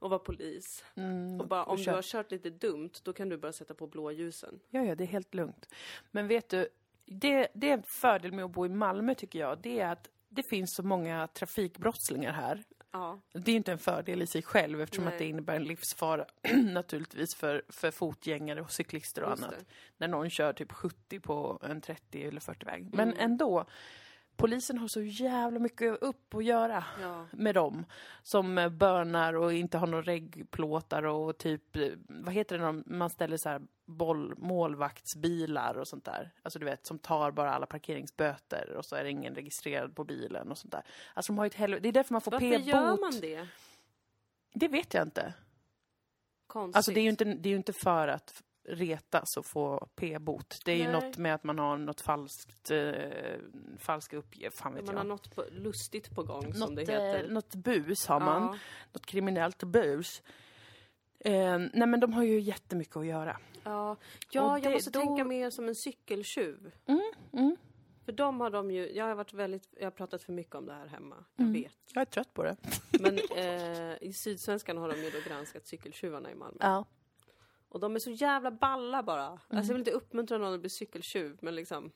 S3: att vara polis.
S2: Mm,
S3: Och bara, om du
S2: kör-
S3: har kört lite dumt, då kan du bara sätta på blåljusen.
S2: Ja, ja, det är helt lugnt. Men vet du, det, det är en fördel med att bo i Malmö tycker jag. Det är att det finns så många trafikbrottslingar här.
S3: Ja.
S2: Det är inte en fördel i sig själv eftersom
S3: Nej.
S2: att det innebär en livsfara naturligtvis för, för fotgängare och cyklister och
S3: Just
S2: annat.
S3: det.
S2: När någon kör typ 70 på en 30 eller 40-väg. Men
S3: Mm.
S2: ändå, polisen har så jävla mycket upp att göra
S3: Ja.
S2: med dem. Som eh, börnar och inte har några reggplåtar och typ, eh, vad heter det när man ställer så här boll, målvaktsbilar och sånt där. Alltså du vet, som tar bara alla parkeringsböter och så är det ingen registrerad på bilen och sånt där. Alltså de har ju ett helvete. Det är därför man får
S3: Varför
S2: p-bot.
S3: gör man det?
S2: Det vet jag inte.
S3: Konstigt.
S2: Alltså det är ju inte, det är ju inte för att f- retas och få p-bot. Det är ju
S3: Nej.
S2: något med att man har något falskt, eh, falska uppgifter, fan vet
S3: Man
S2: jag.
S3: har något på, lustigt på gång som
S2: något,
S3: det
S2: eh,
S3: heter.
S2: något bus har man.
S3: Ja.
S2: Något kriminellt bus. Eh, nej men de har ju jättemycket att göra.
S3: Ja, ja
S2: Och
S3: jag
S2: det-
S3: måste
S2: då-
S3: tänka mer som en cykeltjuv. Mm. För de har de ju, jag har varit väldigt, jag har pratat för mycket om det här hemma, jag vet.
S2: Jag är trött på det.
S3: Men eh, i Sydsvenskan har de ju då granskat cykeltjuvarna i Malmö.
S2: Ja.
S3: Och de är så jävla balla bara.
S2: Mm.
S3: Alltså jag vill inte uppmuntra någon att bli cykeltjuv, men liksom.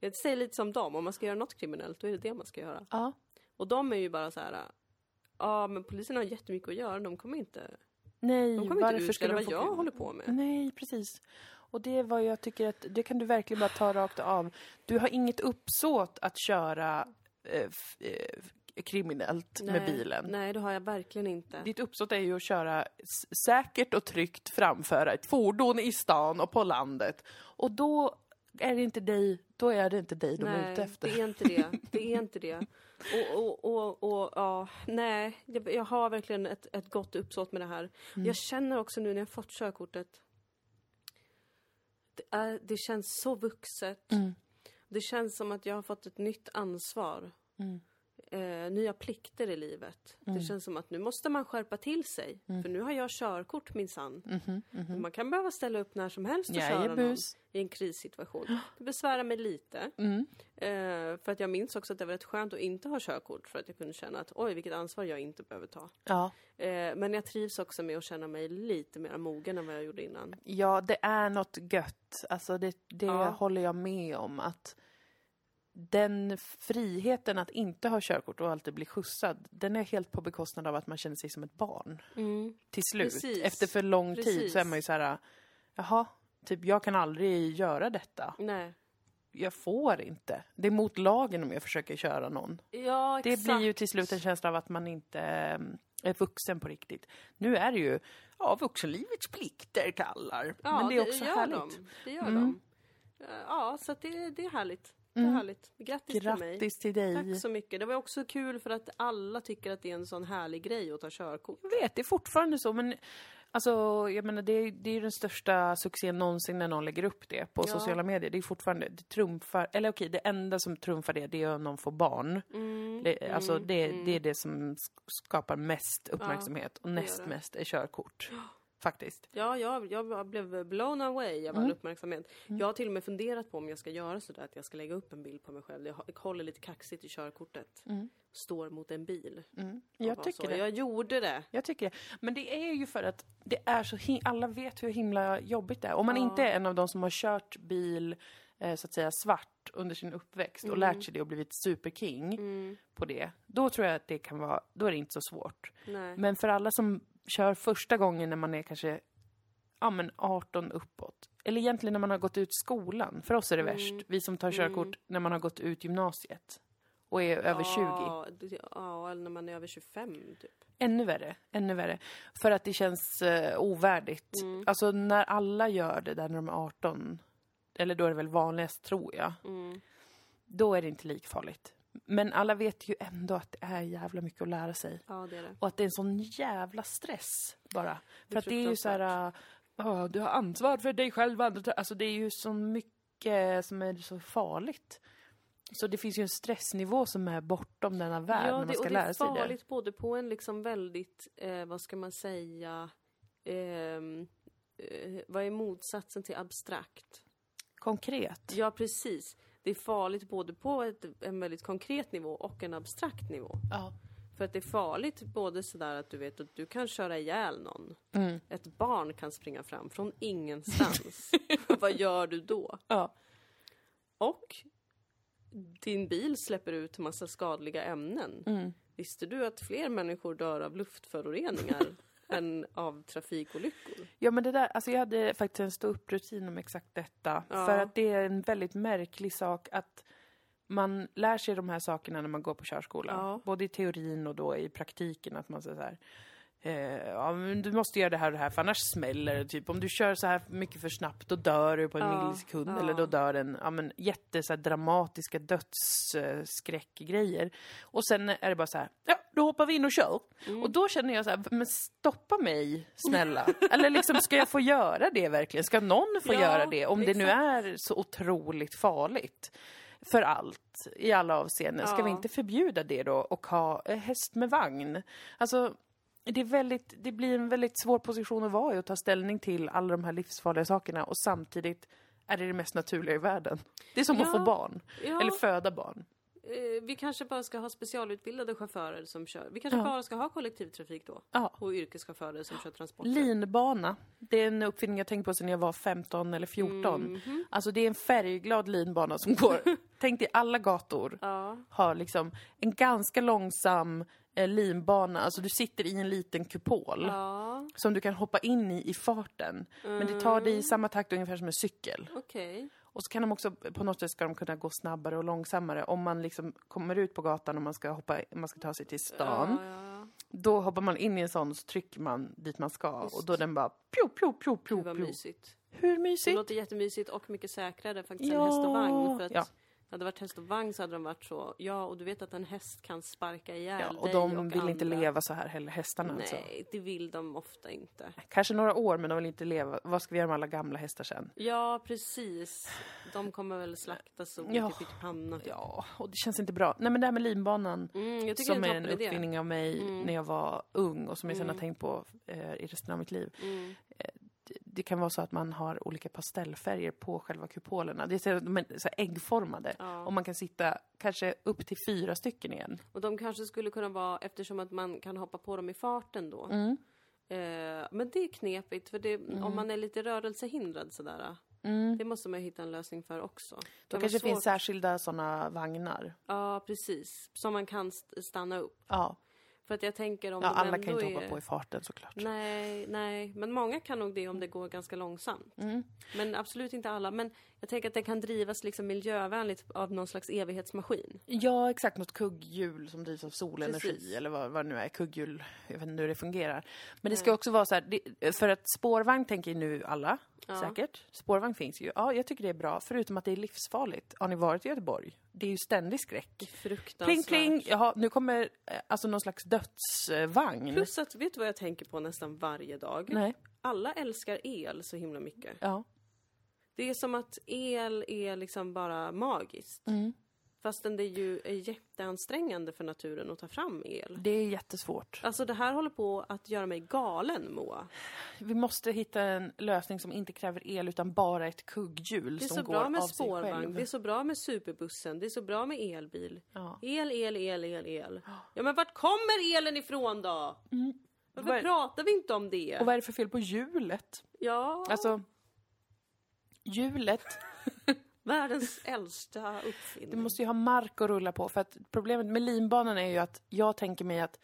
S3: Jag säger lite som dem, om man ska göra något kriminellt då är det det man ska göra.
S2: Ja.
S3: Och de är ju bara så här. äh, Ja men polisen har jättemycket att göra, de kommer inte,
S2: Nej,
S3: de kommer
S2: Mm, varför
S3: inte utreda
S2: skulle de
S3: vad
S2: få...
S3: jag håller på med.
S2: Nej, precis. Och det är vad jag tycker att, det kan du verkligen bara ta rakt av. Du har inget uppsåt att köra eh, f- eh, kriminellt med bilen.
S3: Nej det har jag verkligen inte.
S2: Ditt uppsåt är ju att köra s- säkert och tryggt framföra ett fordon i stan och på landet. Och då är det inte dig, då är det inte dig de är ute efter.
S3: det är inte det. Det är inte det. Och, och, och, och ja, nej, jag, jag har verkligen ett, ett gott uppsåt med det här.
S2: Mm.
S3: Jag känner också nu när jag fått körkortet. Det, är, det känns så vuxet.
S2: Mm.
S3: Det känns som att jag har fått ett nytt ansvar.
S2: Mm,
S3: Eh, nya plikter i livet. Det känns som att nu måste man skärpa till sig.
S2: Mm.
S3: För nu har jag körkort minsann. Och Man kan behöva ställa upp när som helst och köra någon
S2: mhm, Jajebus.
S3: i en krissituation. Det besvärar mig lite.
S2: Mm.
S3: Eh, för att jag minns också att det var rätt skönt att inte ha körkort för att jag kunde känna att oj vilket ansvar jag inte behöver ta.
S2: Ja.
S3: Eh, men jag trivs också med att känna mig lite mer mogen än vad jag gjorde innan.
S2: Ja, det är något gött. Alltså det, det
S3: Ja.
S2: håller jag med om. Att den friheten att inte ha körkort och alltid bli skjutsad, den är helt på bekostnad av att man känner sig som ett barn.
S3: Mm.
S2: Till slut.
S3: Precis.
S2: Efter för lång tid
S3: Precis.
S2: så är man ju så här, jaha, typ jag kan aldrig göra detta.
S3: Nej.
S2: Jag får inte. Det är mot lagen om jag försöker köra någon.
S3: Ja
S2: Det
S3: exakt.
S2: blir ju till slut en känsla av att man inte eh, är vuxen på riktigt. Nu är det ju, ja, vuxenlivets plikter kallar.
S3: ja,
S2: Men det är också
S3: gör
S2: härligt. Mm.
S3: De. Det gör de. Eh, Ja så att det, det är härligt. Det är härligt. Grattis, till mig.
S2: Grattis till dig.
S3: Tack så mycket. Det var också kul för att alla tycker att det är en sån härlig grej att ta körkort.
S2: Jag vet, det är fortfarande så, men alltså, jag menar, det, är- det är ju den största succén någonsin när någon lägger upp det på sociala medier. Det är fortfarande, det trumfar, eller okej, det enda som trumfar det, det är om någon får barn. det, alltså, det, det är det som sk- skapar mest uppmärksamhet och näst
S3: det.
S2: mest är körkort. Faktiskt.
S3: Ja, jag, jag blev blown away av all
S2: Mm.
S3: uppmärksamhet. Jag har till och med funderat på om jag ska göra sådär att jag ska lägga upp en bild på mig själv. Jag har- jag håller lite kaxigt i körkortet. Står mot en bil. Och
S2: Mm. Jag
S3: bara
S2: tycker
S3: så.
S2: det.
S3: Jag gjorde det.
S2: Jag tycker det. Men det är ju för att det är så him- alla vet hur himla jobbigt det är. Om man inte är en av de som har kört bil eh, så att säga svart under sin uppväxt och
S3: Mm.
S2: lärt sig det och blivit superking på det. Då tror jag att det kan vara, då är det inte så svårt.
S3: Nej.
S2: Men för alla som kör första gången när man är kanske ja, men 18 uppåt. Eller egentligen när man har gått ut skolan. För oss är det
S3: Mm.
S2: värst. Vi som tar körkort när man har gått ut gymnasiet. Och är över 20.
S3: Ja, det- ja, eller när man är över 25 typ.
S2: Ännu värre, ännu värre. För att det känns eh, ovärdigt.
S3: Mm.
S2: Alltså när alla gör det där när de är 18, eller då är det väl vanligast tror jag,
S3: Mm.
S2: då är det inte likfarligt. Men alla vet ju ändå att det är jävla mycket att lära sig.
S3: Ja, det är det.
S2: Och att det är en sån jävla stress bara. För att det är ju så
S3: fruktansvärt.
S2: här, "Ah, du har ansvar för dig själv och andra. Alltså det är ju så mycket som är så farligt. Så det finns ju en stressnivå som är bortom denna värld när man ska
S3: och
S2: lära sig
S3: Det är
S2: det.
S3: farligt både på en liksom väldigt, eh, vad ska man säga, ehm, eh, vad är motsatsen till abstrakt?
S2: Konkret.
S3: Ja, precis. Det är farligt både på ett, en väldigt konkret nivå och en abstrakt nivå.
S2: Ja.
S3: För att det är farligt både sådär att du vet att du kan köra ihjäl någon. Ett barn kan springa fram från ingenstans. Vad gör du då?
S2: Ja.
S3: Och din bil släpper ut massa skadliga ämnen. Visste du att fler människor dör av luftföroreningar än av trafikolyckor?
S2: Ja men det där, alltså jag hade faktiskt en stå upp rutin om exakt detta.
S3: Ja.
S2: För att det är en väldigt märklig sak att man lär sig de här sakerna när man går på körskolan.
S3: Ja.
S2: Både i teorin och då i praktiken att man säger så här. Eh, ja, men du måste göra det här och det här för annars smäller det. Typ om du kör så här mycket för snabbt då dör du på en
S3: Ja,
S2: millisekund
S3: ja.
S2: eller då dör en ja, men, jätte så här, dramatiska dödsskräckgrejer. Och sen är det bara så här, ja då hoppar vi in och kör.
S3: Mm.
S2: Och då känner jag så här, men stoppa mig snälla. eller liksom ska jag få göra det verkligen? Ska någon få
S3: Ja,
S2: göra det? Om det nu
S3: exakt.
S2: är så otroligt farligt. För allt, i alla avseenden. Ska vi
S3: Ja.
S2: inte förbjuda det då och ha eh, häst med vagn? Alltså, det, är väldigt, det blir en väldigt svår position att vara i och ta ställning till alla de här livsfarliga sakerna och samtidigt är det det mest naturliga i världen. Det är som att
S3: Ja.
S2: få barn,
S3: Ja,
S2: eller föda barn.
S3: eh, vi kanske bara ska ha specialutbildade chaufförer som kör. Vi kanske
S2: Ja.
S3: bara ska ha kollektivtrafik då.
S2: Ja.
S3: Och yrkeschaufförer som kör transporter.
S2: Linbana, det är en uppfinning jag tänkte på sedan jag var 15 eller 14.
S3: Mhm.
S2: Alltså det är en färgglad linbana som går, tänk dig alla gator.
S3: ja.
S2: har liksom en ganska långsam eh, linbana, alltså du sitter i en liten kupol
S3: Ja, Mm.
S2: som du kan hoppa in i i farten. Men det tar dig i samma takt ungefär som en cykel.
S3: okej.
S2: Och så kan de också, på något sätt ska de kunna gå snabbare och långsammare. Om man liksom kommer ut på gatan och man ska, hoppa, om man ska ta sig till stan,
S3: Ja, ja.
S2: då hoppar man in i en sån och så trycker man dit man ska. Och då den bara pjo, pjo, pjo, pjo,
S3: Gud vad
S2: pjo.
S3: mysigt.
S2: Hur
S3: Det
S2: mysigt?
S3: låter jättemysigt och mycket säkrare faktiskt
S2: Ja.
S3: än häst och vagn. För att
S2: Ja.
S3: hade det varit häst och vagn så hade de varit så, ja och du vet att en häst kan sparka ihjäl
S2: Ja, och
S3: dig
S2: de vill
S3: andra.
S2: inte leva så här heller, hästarna
S3: Nej,
S2: alltså.
S3: det vill de ofta inte.
S2: Kanske några år, men de vill inte leva. Vad ska vi göra med alla gamla hästar sen?
S3: Ja, precis. De kommer väl slaktas och
S2: Ja.
S3: ja. pyttipanna.
S2: Ja, och det känns inte bra. Nej men det här med linbanan
S3: Mm, jag tycker
S2: som
S3: det
S2: är
S3: är
S2: en
S3: en Mm. toppenidé.
S2: uppfinning av mig när jag var ung och som jag sen har tänkt på eh, i resten av mitt liv.
S3: Mm.
S2: Eh, det- Det kan vara så att man har olika pastellfärger på själva kupolerna. Det är så, här- de är så här äggformade. Och man kan sitta kanske upp till fyra stycken igen.
S3: Och de kanske skulle kunna vara, eftersom att man kan hoppa på dem i farten då.
S2: Mm.
S3: Eh, men det är knepigt, för det, om man är lite rörelsehindrad sådär. eh, Det måste man ju hitta en lösning för också. Det
S2: Mm. Då
S3: kan
S2: kanske det
S3: vara
S2: finns
S3: svårt.
S2: särskilda sådana vagnar.
S3: Ja, precis. Som man kan st- stanna upp.
S2: Ja,
S3: För att jag tänker om
S2: ja
S3: de
S2: alla
S3: ändå
S2: kan ju inte
S3: är...
S2: hoppa på i farten såklart.
S3: Nej, nej, men många kan nog det om det går ganska långsamt.
S2: Mm.
S3: Men absolut inte alla. Men jag tänker att det kan drivas liksom miljövänligt av någon slags evighetsmaskin.
S2: Ja, exakt. Något kugghjul som drivs av solenergi
S3: Precis.
S2: eller vad, vad det nu är. Kugghjul, jag vet inte hur det fungerar. Men det ska
S3: Mm.
S2: också vara så här, det, för att spårvagn tänker ju nu alla, säkert. Spårvagn finns ju. Ja, jag tycker det är bra, förutom att det är livsfarligt. Har ni varit i Göteborg? Det är ju ständig skräck.
S3: Fruktansvärt.
S2: Pling, pling! Jaha, nu kommer eh, alltså någon slags dödsvagn.
S3: Plus att, vet du vad jag tänker på nästan varje dag?
S2: Nej.
S3: Alla älskar el så himla mycket.
S2: Ja.
S3: Det är som att el är liksom bara magiskt.
S2: Mm.
S3: Fastän det är ju är jätteansträngande för naturen att ta fram el.
S2: Det är jättesvårt.
S3: Alltså det här håller på att göra mig galen Moa.
S2: Vi måste hitta en lösning som inte kräver el utan bara ett kugghjul
S3: Det är
S2: som
S3: så
S2: går
S3: bra
S2: av
S3: med
S2: sig själv.
S3: spårvagn, det är så bra med superbussen, det är så bra med elbil.
S2: Ja.
S3: El, el, el, el, el. Ja men vart kommer elen ifrån då? Varför
S2: Mm. Vad är-
S3: pratar vi inte om det?
S2: Och vad är det för fel på hjulet?
S3: Ja,
S2: Alltså, hjulet,
S3: världens äldsta
S2: det
S3: uppfinning.
S2: måste ju ha mark att rulla på. För att problemet med linbanan är ju att jag tänker mig att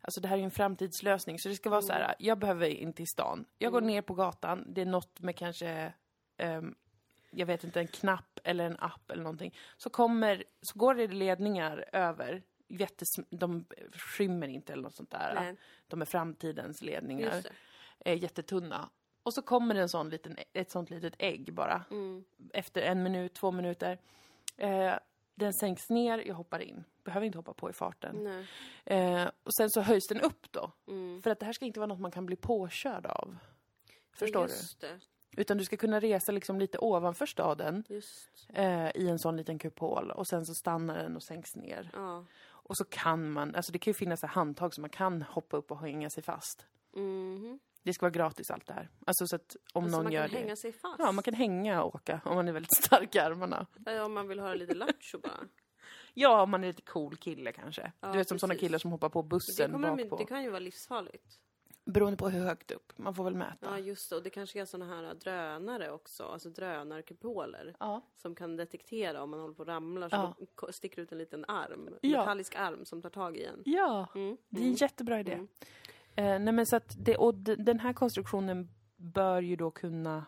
S2: Alltså det här är ju en framtidslösning, så det ska vara så
S3: Mm.
S2: här, jag behöver in till stan. Jag går ner på gatan, det är något med kanske, ehm, jag vet inte, en knapp eller en app eller någonting. Så kommer, så går det ledningar över, jättes, de skymmer inte eller något sånt där.
S3: Nej.
S2: De är framtidens ledningar.
S3: Just det.
S2: är jättetunna. Och så kommer det en sån liten, ett sånt litet ägg bara. Efter en minut, två minuter. Eh, den sänks ner, jag hoppar in. Behöver inte hoppa på i farten.
S3: Nej.
S2: Eh, och sen så höjs den upp då. För att det här ska inte vara något man kan bli påkörd av. Förstår
S3: just det,
S2: du? Utan du ska kunna resa liksom lite ovanför staden
S3: just.
S2: eh, i en sån liten kupol och sen så stannar den och sänks ner.
S3: Ja.
S2: Och så kan man, alltså det kan ju finnas så här handtag som man kan hoppa upp och hänga sig fast.
S3: Mhm.
S2: Det ska vara gratis allt det här. Alltså så att om
S3: Så
S2: någon
S3: man
S2: gör
S3: kan
S2: det.
S3: hänga sig fast.
S2: Ja, man kan hänga och åka om man är väldigt stark i armarna.
S3: Eh, Om man vill höra lite lattjo bara.
S2: Ja, om man är lite cool kille kanske.
S3: Ja,
S2: du vet som sådana
S3: precis.
S2: killar som hoppar på
S3: Det,
S2: bussen
S3: kommer de,
S2: bakpå.
S3: inte- det kan ju vara livsfarligt.
S2: Beroende på hur högt upp. Man får väl mäta.
S3: Ja, just det. Och det kanske är såna här drönare också, alltså drönarkupoler.
S2: Ja.
S3: Som kan detektera om man håller på att ramla, så
S2: Ja.
S3: de ko- sticker ut en liten arm. En
S2: Ja.
S3: metallisk arm som tar tag i en.
S2: Ja,
S3: Mm.
S2: det är en jättebra idé. Eh, nej men så att det, och d- den här konstruktionen bör ju då kunna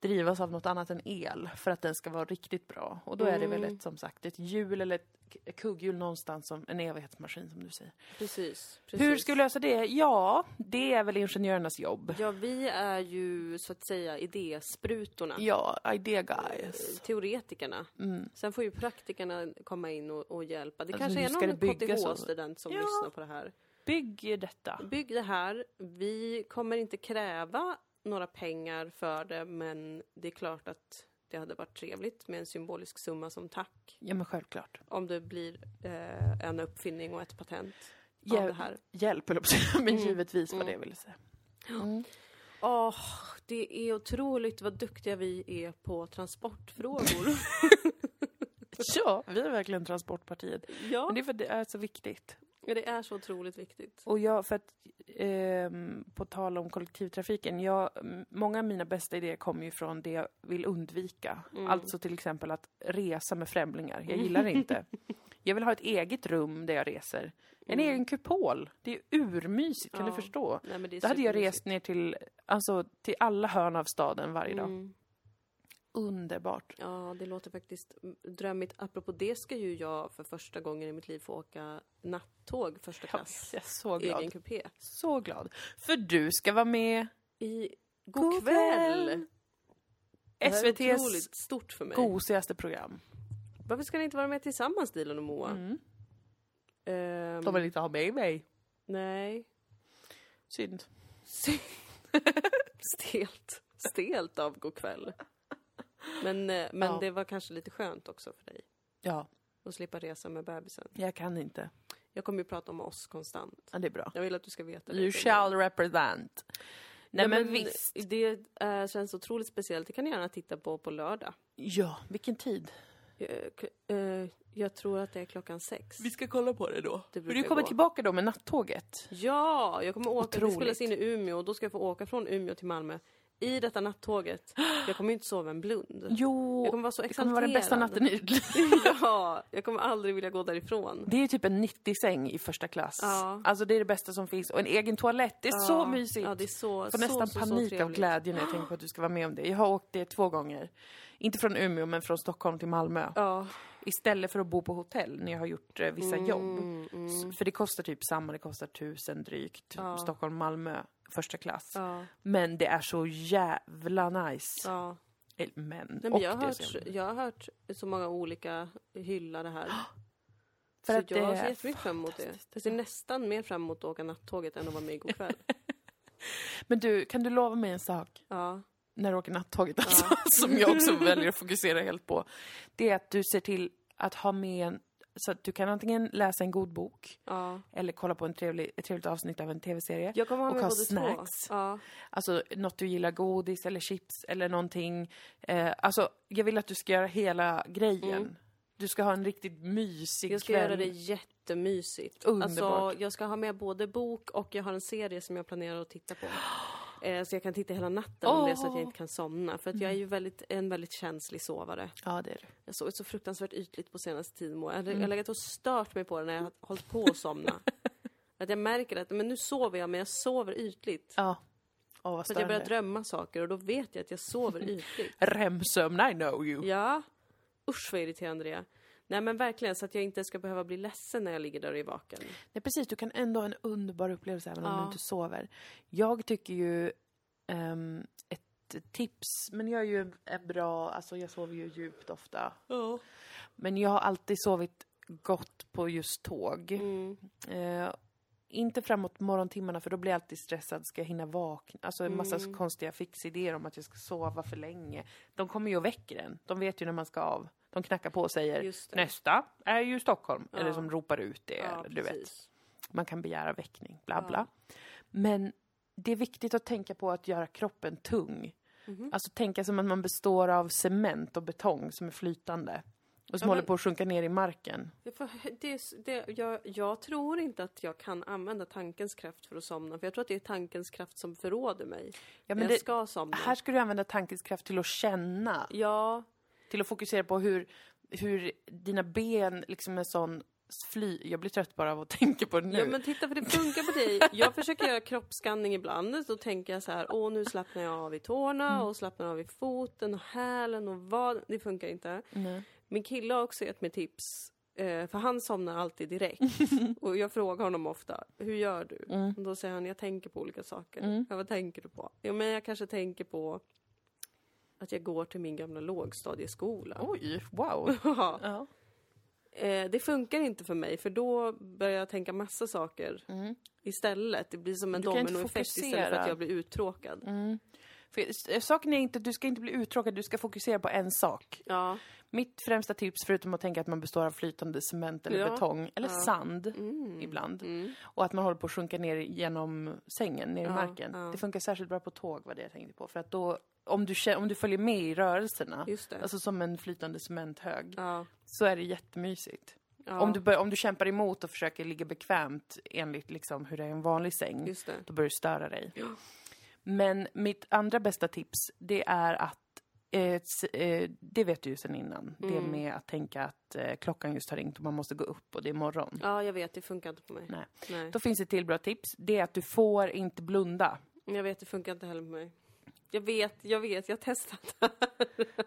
S2: drivas av något annat än el för att den ska vara riktigt bra. Och då är det väl
S3: Mm.
S2: ett, som sagt ett hjul eller ett k- kugghjul någonstans, som en evighetsmaskin som du säger.
S3: Precis, precis.
S2: Hur ska vi lösa det? Ja, det är väl ingenjörernas jobb.
S3: Ja, vi är ju så att säga idésprutorna. Eh,
S2: Ja, idea guys.
S3: Teoretikerna.
S2: Mm.
S3: Sen får ju praktikerna komma in och, och hjälpa. Det
S2: Alltså, hur
S3: kanske
S2: ska
S3: är
S2: det
S3: någon
S2: byggas så?
S3: KTH-student som lyssnar på det här.
S2: Bygg detta.
S3: Bygg det här. Vi kommer inte kräva några pengar för det, men det är klart att det hade varit trevligt med en symbolisk summa som tack
S2: Ja men självklart.
S3: om det blir eh, en uppfinning och ett patent av det
S2: Hjälp,
S3: här. Mm.
S2: hjälp höll jag på att säga, men givetvis vad det jag ville säga.
S3: Åh, det är otroligt vad duktiga vi är på transportfrågor.
S2: Ja, vi är verkligen transportpartiet.
S3: ja,
S2: Men det är för att det är så viktigt.
S3: det är så otroligt viktigt.
S2: Och jag, för att, ehm, på tal om kollektivtrafiken, jag, m- många av mina bästa idéer kommer ju från det jag vill undvika.
S3: Mm.
S2: Alltså till exempel att resa med främlingar. Jag gillar det inte. Jag vill ha ett eget rum där jag reser. En egen kupol. Det är urmysigt, kan
S3: Mm. Ja.
S2: du förstå?
S3: Nej, men det är
S2: Då hade jag
S3: supermysigt.
S2: rest ner till, alltså, till alla hörn av staden varje dag.
S3: Mm.
S2: Underbart.
S3: Ja, det låter faktiskt drömmigt. Apropå det ska ju jag för första gången i mitt liv få åka nattåg första klass.
S2: Jag är så glad.
S3: Egen kupé.
S2: Så glad. För du ska vara med
S3: I
S2: God
S3: God kväll!
S2: kväll!
S3: Det här är
S2: SVTs
S3: otroligt stort för mig.
S2: gosigaste program.
S3: Varför ska ni inte vara med tillsammans, Dilan och Moa? Ehm,
S2: Mm. De vill inte ha med mig.
S3: Nej.
S2: Synd.
S3: Stelt. Stelt av God kväll. Men, eh, men
S2: Ja.
S3: det var kanske lite skönt också för dig
S2: Ja,
S3: att slippa resa med bebisen.
S2: jag kan inte.
S3: Jag kommer ju prata om oss konstant.
S2: Ja, det är bra.
S3: Jag vill att du ska veta det.
S2: You
S3: Dilan.
S2: shall represent. Nej, men, visst.
S3: Det eh, känns otroligt speciellt. Det kan ni gärna titta på på lördag.
S2: Ja, vilken tid.
S3: Eh, k- eh, jag tror att det är klockan sex.
S2: ska kolla på det då.
S3: Det
S2: Men
S3: brukar
S2: du kommer
S3: gå.
S2: tillbaka då med nattåget.
S3: Ja, jag kommer åka. Det
S2: Otroligt.
S3: spelas in i Umeå och då ska jag få åka från Umeå till Malmö i detta nattåget. Jag kommer ju inte sova en blund.
S2: Jo,
S3: Jag kommer vara så
S2: det kommer vara den bästa
S3: exalterad.
S2: natten i ditt liv.
S3: Ja, jag kommer aldrig vilja gå därifrån.
S2: Det är ju typ en 90-säng i första klass.
S3: Ja.
S2: Alltså det är det bästa som finns. Och en egen toalett, det är så mysigt.
S3: Ja, det är så,
S2: Jag får nästan
S3: så, så, så
S2: panik av
S3: trevligt.
S2: glädje när jag tänker på att du ska vara med om det. Jag har åkt det två gånger. Inte från Umeå, men från Stockholm till Malmö.
S3: Ja, Mm.
S2: Istället för att bo på hotell när jag har gjort eh, vissa jobb. S- För det kostar typ samma, det kostar tusen drygt. Stockholm, Malmö, första klass.
S3: ja,
S2: Men det är så jävla nice.
S3: ja.
S2: Eller Men, och
S3: Nej, men jag, har
S2: det är
S3: hört,
S2: så jävla-
S3: jag har hört så många olika hylla det här.
S2: För
S3: så
S2: att det
S3: jag
S2: är
S3: ser jättemycket fram emot det. Jag ser nästan mer fram emot att åka nattåget än att vara med i God kväll.
S2: Men du, kan du lova mig en sak?
S3: Ja.
S2: När du åker nattåget alltså, som jag också väljer att fokusera helt på. Det är att du ser till att ha med en, så att du kan antingen läsa en god bok
S3: ja.
S2: eller kolla på en trevlig, ett trevligt avsnitt av en tv-serie.
S3: Jag kommer ha
S2: och
S3: med
S2: ha
S3: både
S2: snacks.
S3: två. Ja.
S2: Alltså något du gillar, godis eller chips eller någonting. Eh, alltså, jag vill att du ska göra hela grejen. Du ska ha en riktigt mysig
S3: Mm. Jag ska
S2: kväll.
S3: göra det jättemysigt. Alltså,
S2: Underbart.
S3: jag ska ha med både bok och jag har en serie som jag planerar att titta på. Eh, så jag kan titta hela natten om det är så att jag inte kan somna. För att jag är ju väldigt, en väldigt känslig sovare.
S2: Ja, det är det.
S3: Jag sov så fruktansvärt ytligt på senaste tiden. Moa. Jag har
S2: Mm.
S3: jag har legat och stört mig på det när jag har hållit på att somna. att jag märker att men nu sover jag, men jag sover ytligt.
S2: Ja. Åh, vad
S3: För att jag börjar
S2: störande.
S3: drömma saker och då vet jag att jag sover ytligt.
S2: REM-sömn, I know you.
S3: Ja. Usch vad irriterande det är. Nej men verkligen, så att jag inte ska behöva bli ledsen när jag ligger där och är vaken.
S2: Nej, precis, du kan ändå ha en underbar upplevelse även om
S3: Ja.
S2: du inte sover. Jag tycker ju ehm, ett tips, men jag är ju en- en bra, alltså jag sover ju djupt ofta. Men jag har alltid sovit gott på just tåg.
S3: Mm.
S2: Eh, inte framåt morgontimmarna för då blir jag alltid stressad, ska jag hinna vakna? Alltså en massa
S3: Mm.
S2: konstiga fixidéer om att jag ska sova för länge. De kommer ju och väcker en. De vet ju när man ska av. De knackar på och säger
S3: Just det.
S2: nästa är ju Stockholm. Eller som ropar ut det. eller, du vet
S3: precis.
S2: man kan begära väckning, bla bla. Men det är viktigt att tänka på att göra kroppen
S3: Mhm.
S2: tung. Alltså tänka som att man består av cement och betong som är flytande. Och som
S3: Ja,
S2: håller
S3: men-
S2: på att sjunka ner i marken.
S3: Det, får- det, är s- det, jag, jag tror inte att jag kan använda tankens kraft för att somna, för jag tror att det är tankens kraft som förråder mig.
S2: Ja,
S3: när
S2: men
S3: jag
S2: det,
S3: ska somna.
S2: här ska du använda tankens kraft till att känna.
S3: Ja,
S2: Till att fokusera på hur, hur dina ben liksom en sån fly... Jag blir trött bara av att tänka på det nu.
S3: ja, men titta för det funkar på dig. Jag försöker göra kroppsskanning ibland, då tänker jag så här, åh nu slappnar jag av i tårna
S2: Mm.
S3: och slappnar av i foten och hälen och vad. Det funkar inte.
S2: Nej.
S3: Min kille har också gett mig tips. eh, För han somnar alltid direkt. Och jag frågar honom ofta, hur gör du?
S2: Mm.
S3: Och då säger han, jag tänker på olika saker. Ja, vad tänker du på? Jo men jag kanske tänker på att jag går till min gamla lågstadieskola.
S2: Oj, wow.
S3: Ja.
S2: Ja.
S3: Eh, Det funkar inte för mig för då börjar jag tänka massa saker istället. Det blir som en
S2: Mm. Du kan inte
S3: dominoeffekt istället för
S2: fokusera. Mm.
S3: att jag blir uttråkad.
S2: För, eh, saken är inte att du ska inte bli uttråkad, du ska fokusera på en sak.
S3: Ja.
S2: Mitt främsta tips, förutom att tänka att man består av flytande cement eller
S3: Ja. Mm.
S2: betong, eller sand ibland, och att man håller på att sjunka ner genom sängen, ner i marken. Det funkar särskilt bra på tåg, var det jag tänkte på. För att då, om du, kä- om du följer med i rörelserna,
S3: Just det.
S2: alltså som en flytande cementhög,
S3: Ja.
S2: så är det jättemysigt.
S3: Ja.
S2: Om, du bör, om du kämpar emot och försöker ligga bekvämt enligt liksom hur det är i en vanlig säng,
S3: Just det.
S2: då börjar det störa dig. Men mitt andra bästa tips, det är att Eh, s- eh, det vet du ju sen innan. Det med att tänka att eh, klockan just har ringt och man måste gå upp och det är morgon.
S3: ja, jag vet, det funkar inte på mig.
S2: Nej.
S3: Nej.
S2: Då finns ett till bra tips. Det är att du får inte blunda.
S3: Jag vet, det funkar inte heller på mig. Jag vet, jag vet, jag har testat.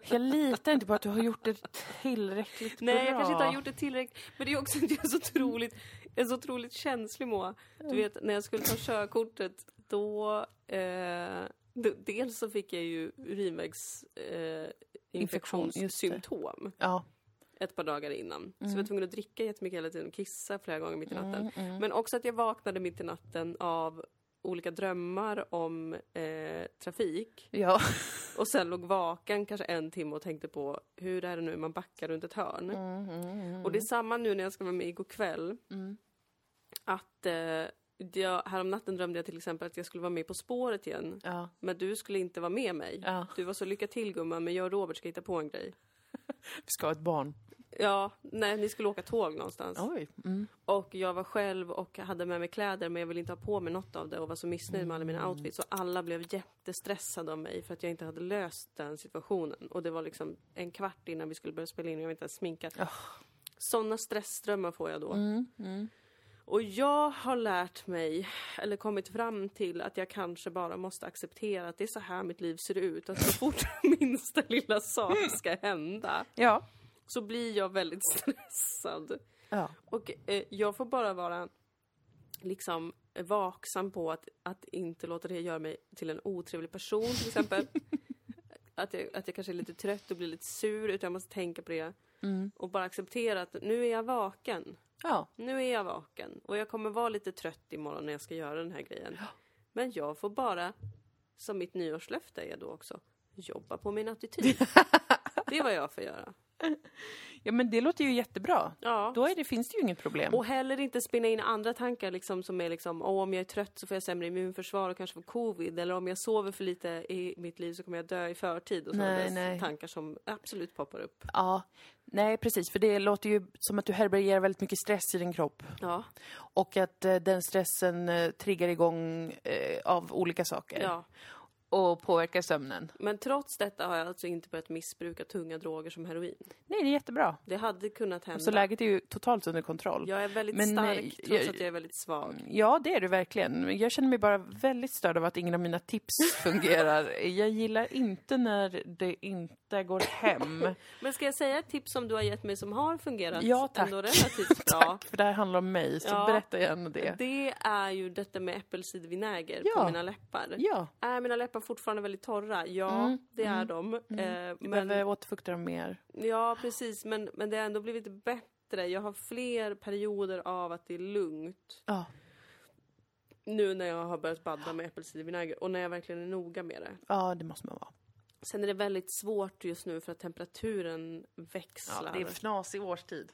S2: Jag litar inte på att du har gjort det tillräckligt bra.
S3: Nej, jag kanske inte har gjort det tillräckligt. Men det är också att jag är så otroligt, en så otroligt känslig Moa. Du vet, när jag skulle ta körkortet, då... Eh, d- dels så fick jag ju urinvägs... Eh,
S2: Infektion, just det.
S3: infektionssymptom
S2: Ja.
S3: ett par dagar innan. Så jag var tvungen att dricka jättemycket hela tiden och kissa flera gånger mitt i natten.
S2: Mm,
S3: Men också att jag vaknade mitt i natten av olika drömmar om eh, trafik.
S2: ja.
S3: Och sen låg vaken kanske en timme och tänkte på hur är det nu man backar runt ett hörn.
S2: Mm,
S3: Och det är samma nu när jag ska vara med igår kväll. Att eh, jag, häromnatten drömde jag till exempel att jag skulle vara med På spåret igen.
S2: ja.
S3: Men du skulle inte vara med mig.
S2: Ja.
S3: Du var så lycka till gumman men jag och Robert ska hitta på en grej.
S2: Vi ska ha ett barn.
S3: Ja, nej ni skulle åka tåg någonstans.
S2: Oj. Mm.
S3: Och jag var själv och hade med mig kläder men jag ville inte ha på mig något av det och var så missnöjd med alla mina outfits. Och alla blev jättestressade av mig för att jag inte hade löst den situationen. Och det var liksom en kvart innan vi skulle börja spela in och jag var inte ens sminkad.
S2: Ah.
S3: Sådana stressdrömmar får jag då. Och jag har lärt mig, eller kommit fram till, att jag kanske bara måste acceptera att det är så här mitt liv ser ut. Att så fort minsta lilla sak ska hända
S2: Ja.
S3: så blir jag väldigt stressad.
S2: Ja.
S3: Och eh, jag får bara vara liksom vaksam på att, att inte låta det göra mig till en otrevlig person till exempel. att, jag, att jag kanske är lite trött och blir lite sur utan jag måste tänka på det. Och bara acceptera att nu är jag vaken.
S2: Ja.
S3: Nu är jag vaken. Och jag kommer vara lite trött imorgon när jag ska göra den här grejen. Men jag får bara, som mitt nyårslöfte är då också, jobba på min attityd. det är vad jag får göra.
S2: ja, men det låter ju jättebra.
S3: Ja.
S2: Då är det, finns det ju inget problem.
S3: Och heller inte spinna in andra tankar liksom, som är liksom, "Åh, om jag är trött så får jag sämre immunförsvar och kanske får covid. Eller om jag sover för lite i mitt liv så kommer jag dö i förtid. Och sådana
S2: Nej,
S3: där
S2: nej.
S3: tankar som absolut poppar upp.
S2: Ja, nej precis. För det låter ju som att du härbärgerar väldigt mycket stress i din kropp.
S3: Ja,
S2: Och att eh, den stressen eh, triggar igång eh, av olika saker.
S3: ja.
S2: Och påverkar sömnen.
S3: Men trots detta har jag alltså inte börjat missbruka tunga droger som heroin.
S2: Nej, det är jättebra.
S3: Det hade kunnat hända.
S2: Så läget är ju totalt under kontroll.
S3: Mm. Jag är väldigt
S2: Men,
S3: stark
S2: eh,
S3: trots
S2: jag- Mm.
S3: att jag är väldigt svag.
S2: Ja, det är du verkligen. Men Jag känner mig bara väldigt störd av att ingen av mina tips fungerar. Jag gillar inte när det inte går hem.
S3: Men ska jag säga ett tips som du har gett mig som har fungerat
S2: Ja, tack.
S3: ändå relativt bra?
S2: För det här handlar om mig, så
S3: Ja.
S2: berätta gärna det.
S3: Det är ju detta med äppelcidervinäger på
S2: Ja.
S3: mina läppar.
S2: Ja,
S3: Är Äh, mina läppar fortfarande väldigt torra? Ja,
S2: Mm.
S3: det är de. Eh,
S2: du
S3: men,
S2: behöver återfukta dem mer.
S3: ja, precis. Men, men det har ändå blivit bättre. Jag har fler perioder av att det är lugnt.
S2: Ja.
S3: Nu när jag har börjat badda med äppelcidervinäger och när jag verkligen är noga med det.
S2: ja, det måste man vara.
S3: Sen är det väldigt svårt just nu för att temperaturen växlar.
S2: Ja, det är fnasig årstid.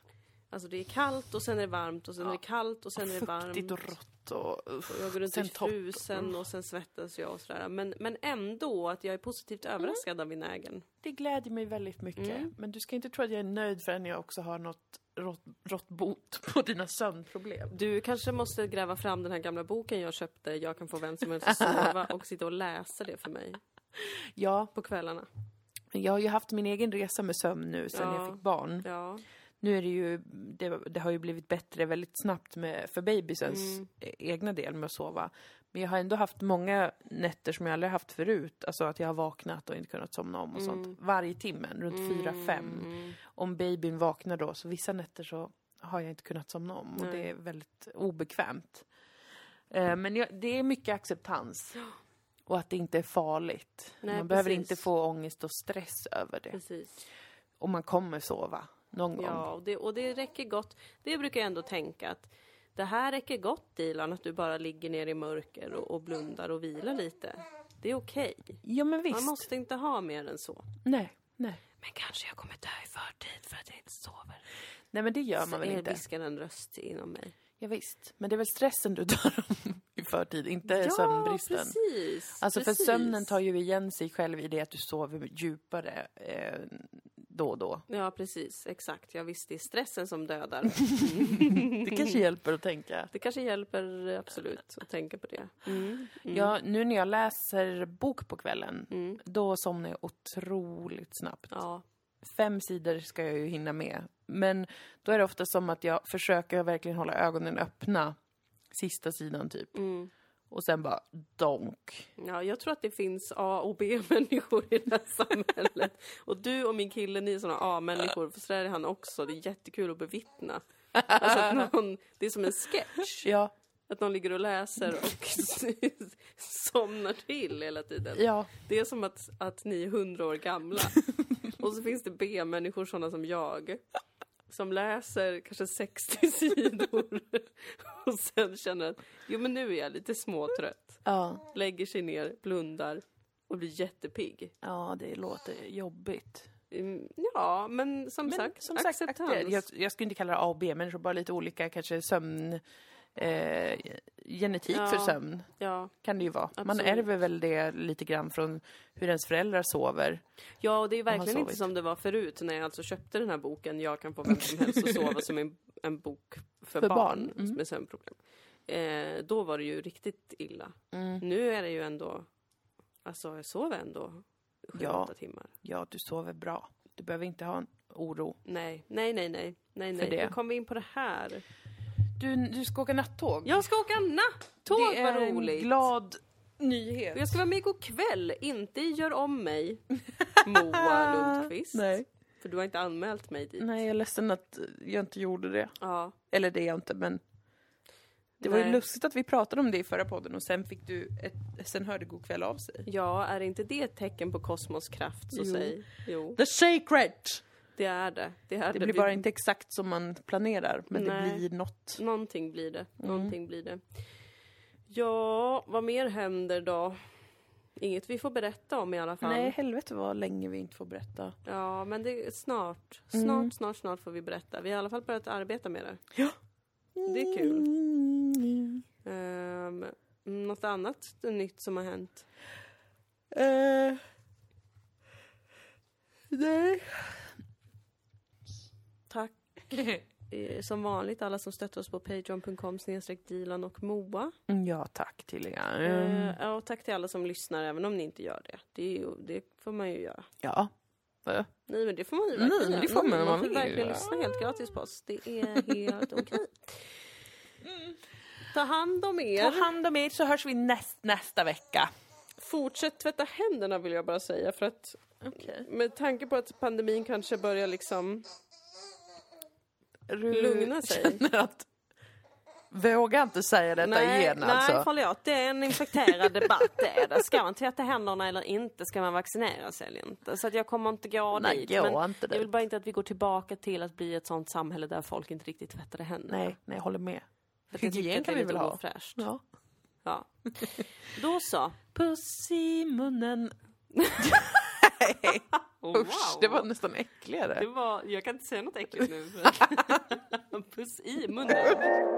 S3: Alltså det är kallt och sen är det varmt och sen är det kallt och sen är det varmt.
S2: Fuktigt och rått och... uff.
S3: Och jag går runt
S2: Sen
S3: i
S2: topp. Mm.
S3: frusen och sen svettas jag och sådär. Men, men ändå att jag är positivt
S2: Mm.
S3: överraskad av vinägern.
S2: Det glädjer mig väldigt mycket. Men du ska inte tro att jag är nöjd förrän jag också har något rått, rått bot på dina sömnproblem.
S3: Du kanske måste gräva fram den här gamla boken jag köpte, Jag kan få vem som helst att sova och sitta och läsa det för mig
S2: Ja,
S3: på kvällarna.
S2: jag har ju haft min egen resa med sömn nu sedan
S3: Ja.
S2: jag fick barn.
S3: Ja.
S2: Nu är det ju, det, det har ju blivit bättre väldigt snabbt med, för babysens
S3: Mm.
S2: e- egna del med att sova. Men jag har ändå haft många nätter som jag aldrig haft förut. Alltså att jag har vaknat och inte kunnat somna om och
S3: Mm.
S2: sånt. Varje timme, runt fyra, fem. Om babyn vaknar då, så vissa nätter så har jag inte kunnat somna om och det är väldigt obekvämt. Eh, Men jag, det är mycket acceptans. Och att det inte är farligt.
S3: Nej,
S2: man behöver
S3: precis.
S2: inte få ångest och stress över det.
S3: Precis.
S2: Och man kommer sova någon gång.
S3: Ja, och det, och det räcker gott. Det brukar jag ändå tänka att det här räcker gott Ilan, att du bara ligger ner i mörker och, och blundar och vilar lite. Det är okej.
S2: Ja men visst.
S3: Man måste inte ha mer än så.
S2: Nej, nej.
S3: Men kanske jag kommer dö i förtid för att jag inte sover.
S2: Nej men det gör man väl
S3: Eh,
S2: inte?
S3: Viskar en röst inom mig.
S2: Ja, visst. Men det är väl stressen du dör om i förtid, inte sömnbristen?
S3: precis.
S2: Alltså
S3: precis.
S2: för sömnen tar ju igen sig själv i det att du sover djupare eh, då och då.
S3: Ja, precis. Exakt. Jag visste det är stressen som dödar.
S2: Det kanske hjälper att tänka.
S3: Det kanske hjälper eh, absolut att tänka på det.
S2: Ja, nu när jag läser bok på kvällen, då somnar jag otroligt snabbt.
S3: Ja,
S2: Fem sidor ska jag ju hinna med. Men då är det ofta som att jag försöker verkligen hålla ögonen öppna sista sidan typ. Och sen bara donk.
S3: Mm. ja, jag tror att det finns A och B-människor i det här samhället. Och du och min kille, ni är såna A-människor. För så där är han också. Det är jättekul att bevittna. Alltså att någon, det är som en sketch.
S2: Ja,
S3: Att någon ligger och läser och somnar till hela tiden.
S2: ja.
S3: Det är som att, att ni är hundra år gamla. Och så finns det B-människor, sådana som jag, som läser kanske 60 sidor och sen känner att jo men nu är jag lite småtrött.
S2: ja.
S3: Lägger sig ner, blundar och blir jättepigg.
S2: Ja, det låter jobbigt.
S3: Mm, Ja, men som sagt, acceptans.
S2: eh, Jag, jag skulle inte kalla det A och B-människor, bara lite olika kanske sömn... Eh, genetik
S3: Ja.
S2: för sömn
S3: Ja.
S2: kan det ju vara. Man
S3: Absolut.
S2: ärver väl det lite grann från hur ens föräldrar sover.
S3: ja, och det är verkligen inte
S2: sovit.
S3: som det var förut när jag alltså köpte den här boken Jag kan få vem som helst att sova som en, en bok för,
S2: För
S3: barn,
S2: barn, mm.
S3: med sömnproblem. Eh, då var det ju riktigt illa. Nu är det ju ändå... Alltså, jag sover ändå sju,
S2: Ja.
S3: åtta timmar.
S2: Ja, du sover bra. Du behöver inte ha en oro.
S3: Nej, nej, nej, nej. Nej, nej.
S2: det.
S3: Hur kom vi in på det här?
S2: Du, du ska åka nattåg.
S3: Jag ska åka nattåg,
S2: det
S3: vad
S2: är
S3: roligt!
S2: en glad nyhet.
S3: Och Jag ska vara med igår kväll, inte i Gör om mig, Moa Lundqvist.
S2: Nej.
S3: För du har inte anmält mig dit.
S2: Nej, jag är ledsen att jag inte gjorde det.
S3: Ja,
S2: Eller det är jag inte, men det var ju
S3: Nej.
S2: lustigt att vi pratade om det i förra podden och sen fick du ett, sen hörde god kväll av sig.
S3: ja, är inte det ett tecken på kosmos kraft, så
S2: Jo.
S3: säg. Jo,
S2: The Sacred!
S3: det är det. Det, är
S2: Det blir
S3: Vi-
S2: bara inte exakt som man planerar, men
S3: Nej.
S2: det blir något.
S3: Någonting blir det.
S2: Mm.
S3: Någonting blir det. Ja, vad mer händer då? Inget vi får berätta om i alla fall.
S2: Nej, helvete vad länge vi inte får berätta.
S3: Ja, men det är snart.
S2: Mm.
S3: Snart, snart, snart får vi berätta. Vi har i alla fall börjat arbeta med det.
S2: Ja.
S3: Det är kul. Um, något annat nytt som har hänt?
S2: Eh, nej.
S3: Tack eh, som vanligt alla som stöttar oss på patreon.com snedstreck Dilan och Moa.
S2: Mm, Ja, tack till er.
S3: Eh, ja, och tack till alla som lyssnar även om ni inte gör det. Det, är ju, det får man ju göra.
S2: Ja. Va?
S3: Nej men det får man ju
S2: Nej,
S3: verkligen
S2: men det
S3: göra.
S2: får man om man
S3: får
S2: vill.
S3: verkligen lyssna helt gratis på oss. Det är helt okej. Ta hand om
S2: Mm. Ta
S3: er.
S2: hand om er så hörs vi näst, nästa vecka.
S3: Fortsätt tvätta händerna vill jag bara säga för att med tanke på att pandemin kanske börjar liksom
S2: Du
S3: Lugna sig.
S2: känner att... Våga inte säga detta igen alltså.
S3: nej förlåt, det är en infekterad debatt det är det. Ska man tvätta händerna eller inte? Ska man vaccinera sig eller inte? Så att jag kommer inte gå
S2: Nej,
S3: dit.
S2: gå
S3: men
S2: inte
S3: jag vill
S2: dit.
S3: bara inte att vi går tillbaka till att bli ett sånt samhälle där folk inte riktigt tvättade händerna.
S2: Nej, nej, jag håller med.
S3: För att jag tycker
S2: Hygien
S3: att det
S2: kan
S3: är
S2: vi
S3: lite
S2: väl ha?
S3: ofräscht.
S2: Ja.
S3: Ja. Då så.
S2: Puss i munnen.
S3: Oh,
S2: Usch, det var nästan äckligare.
S3: det var... Jag kan inte säga något äckligt nu. puss i munnen.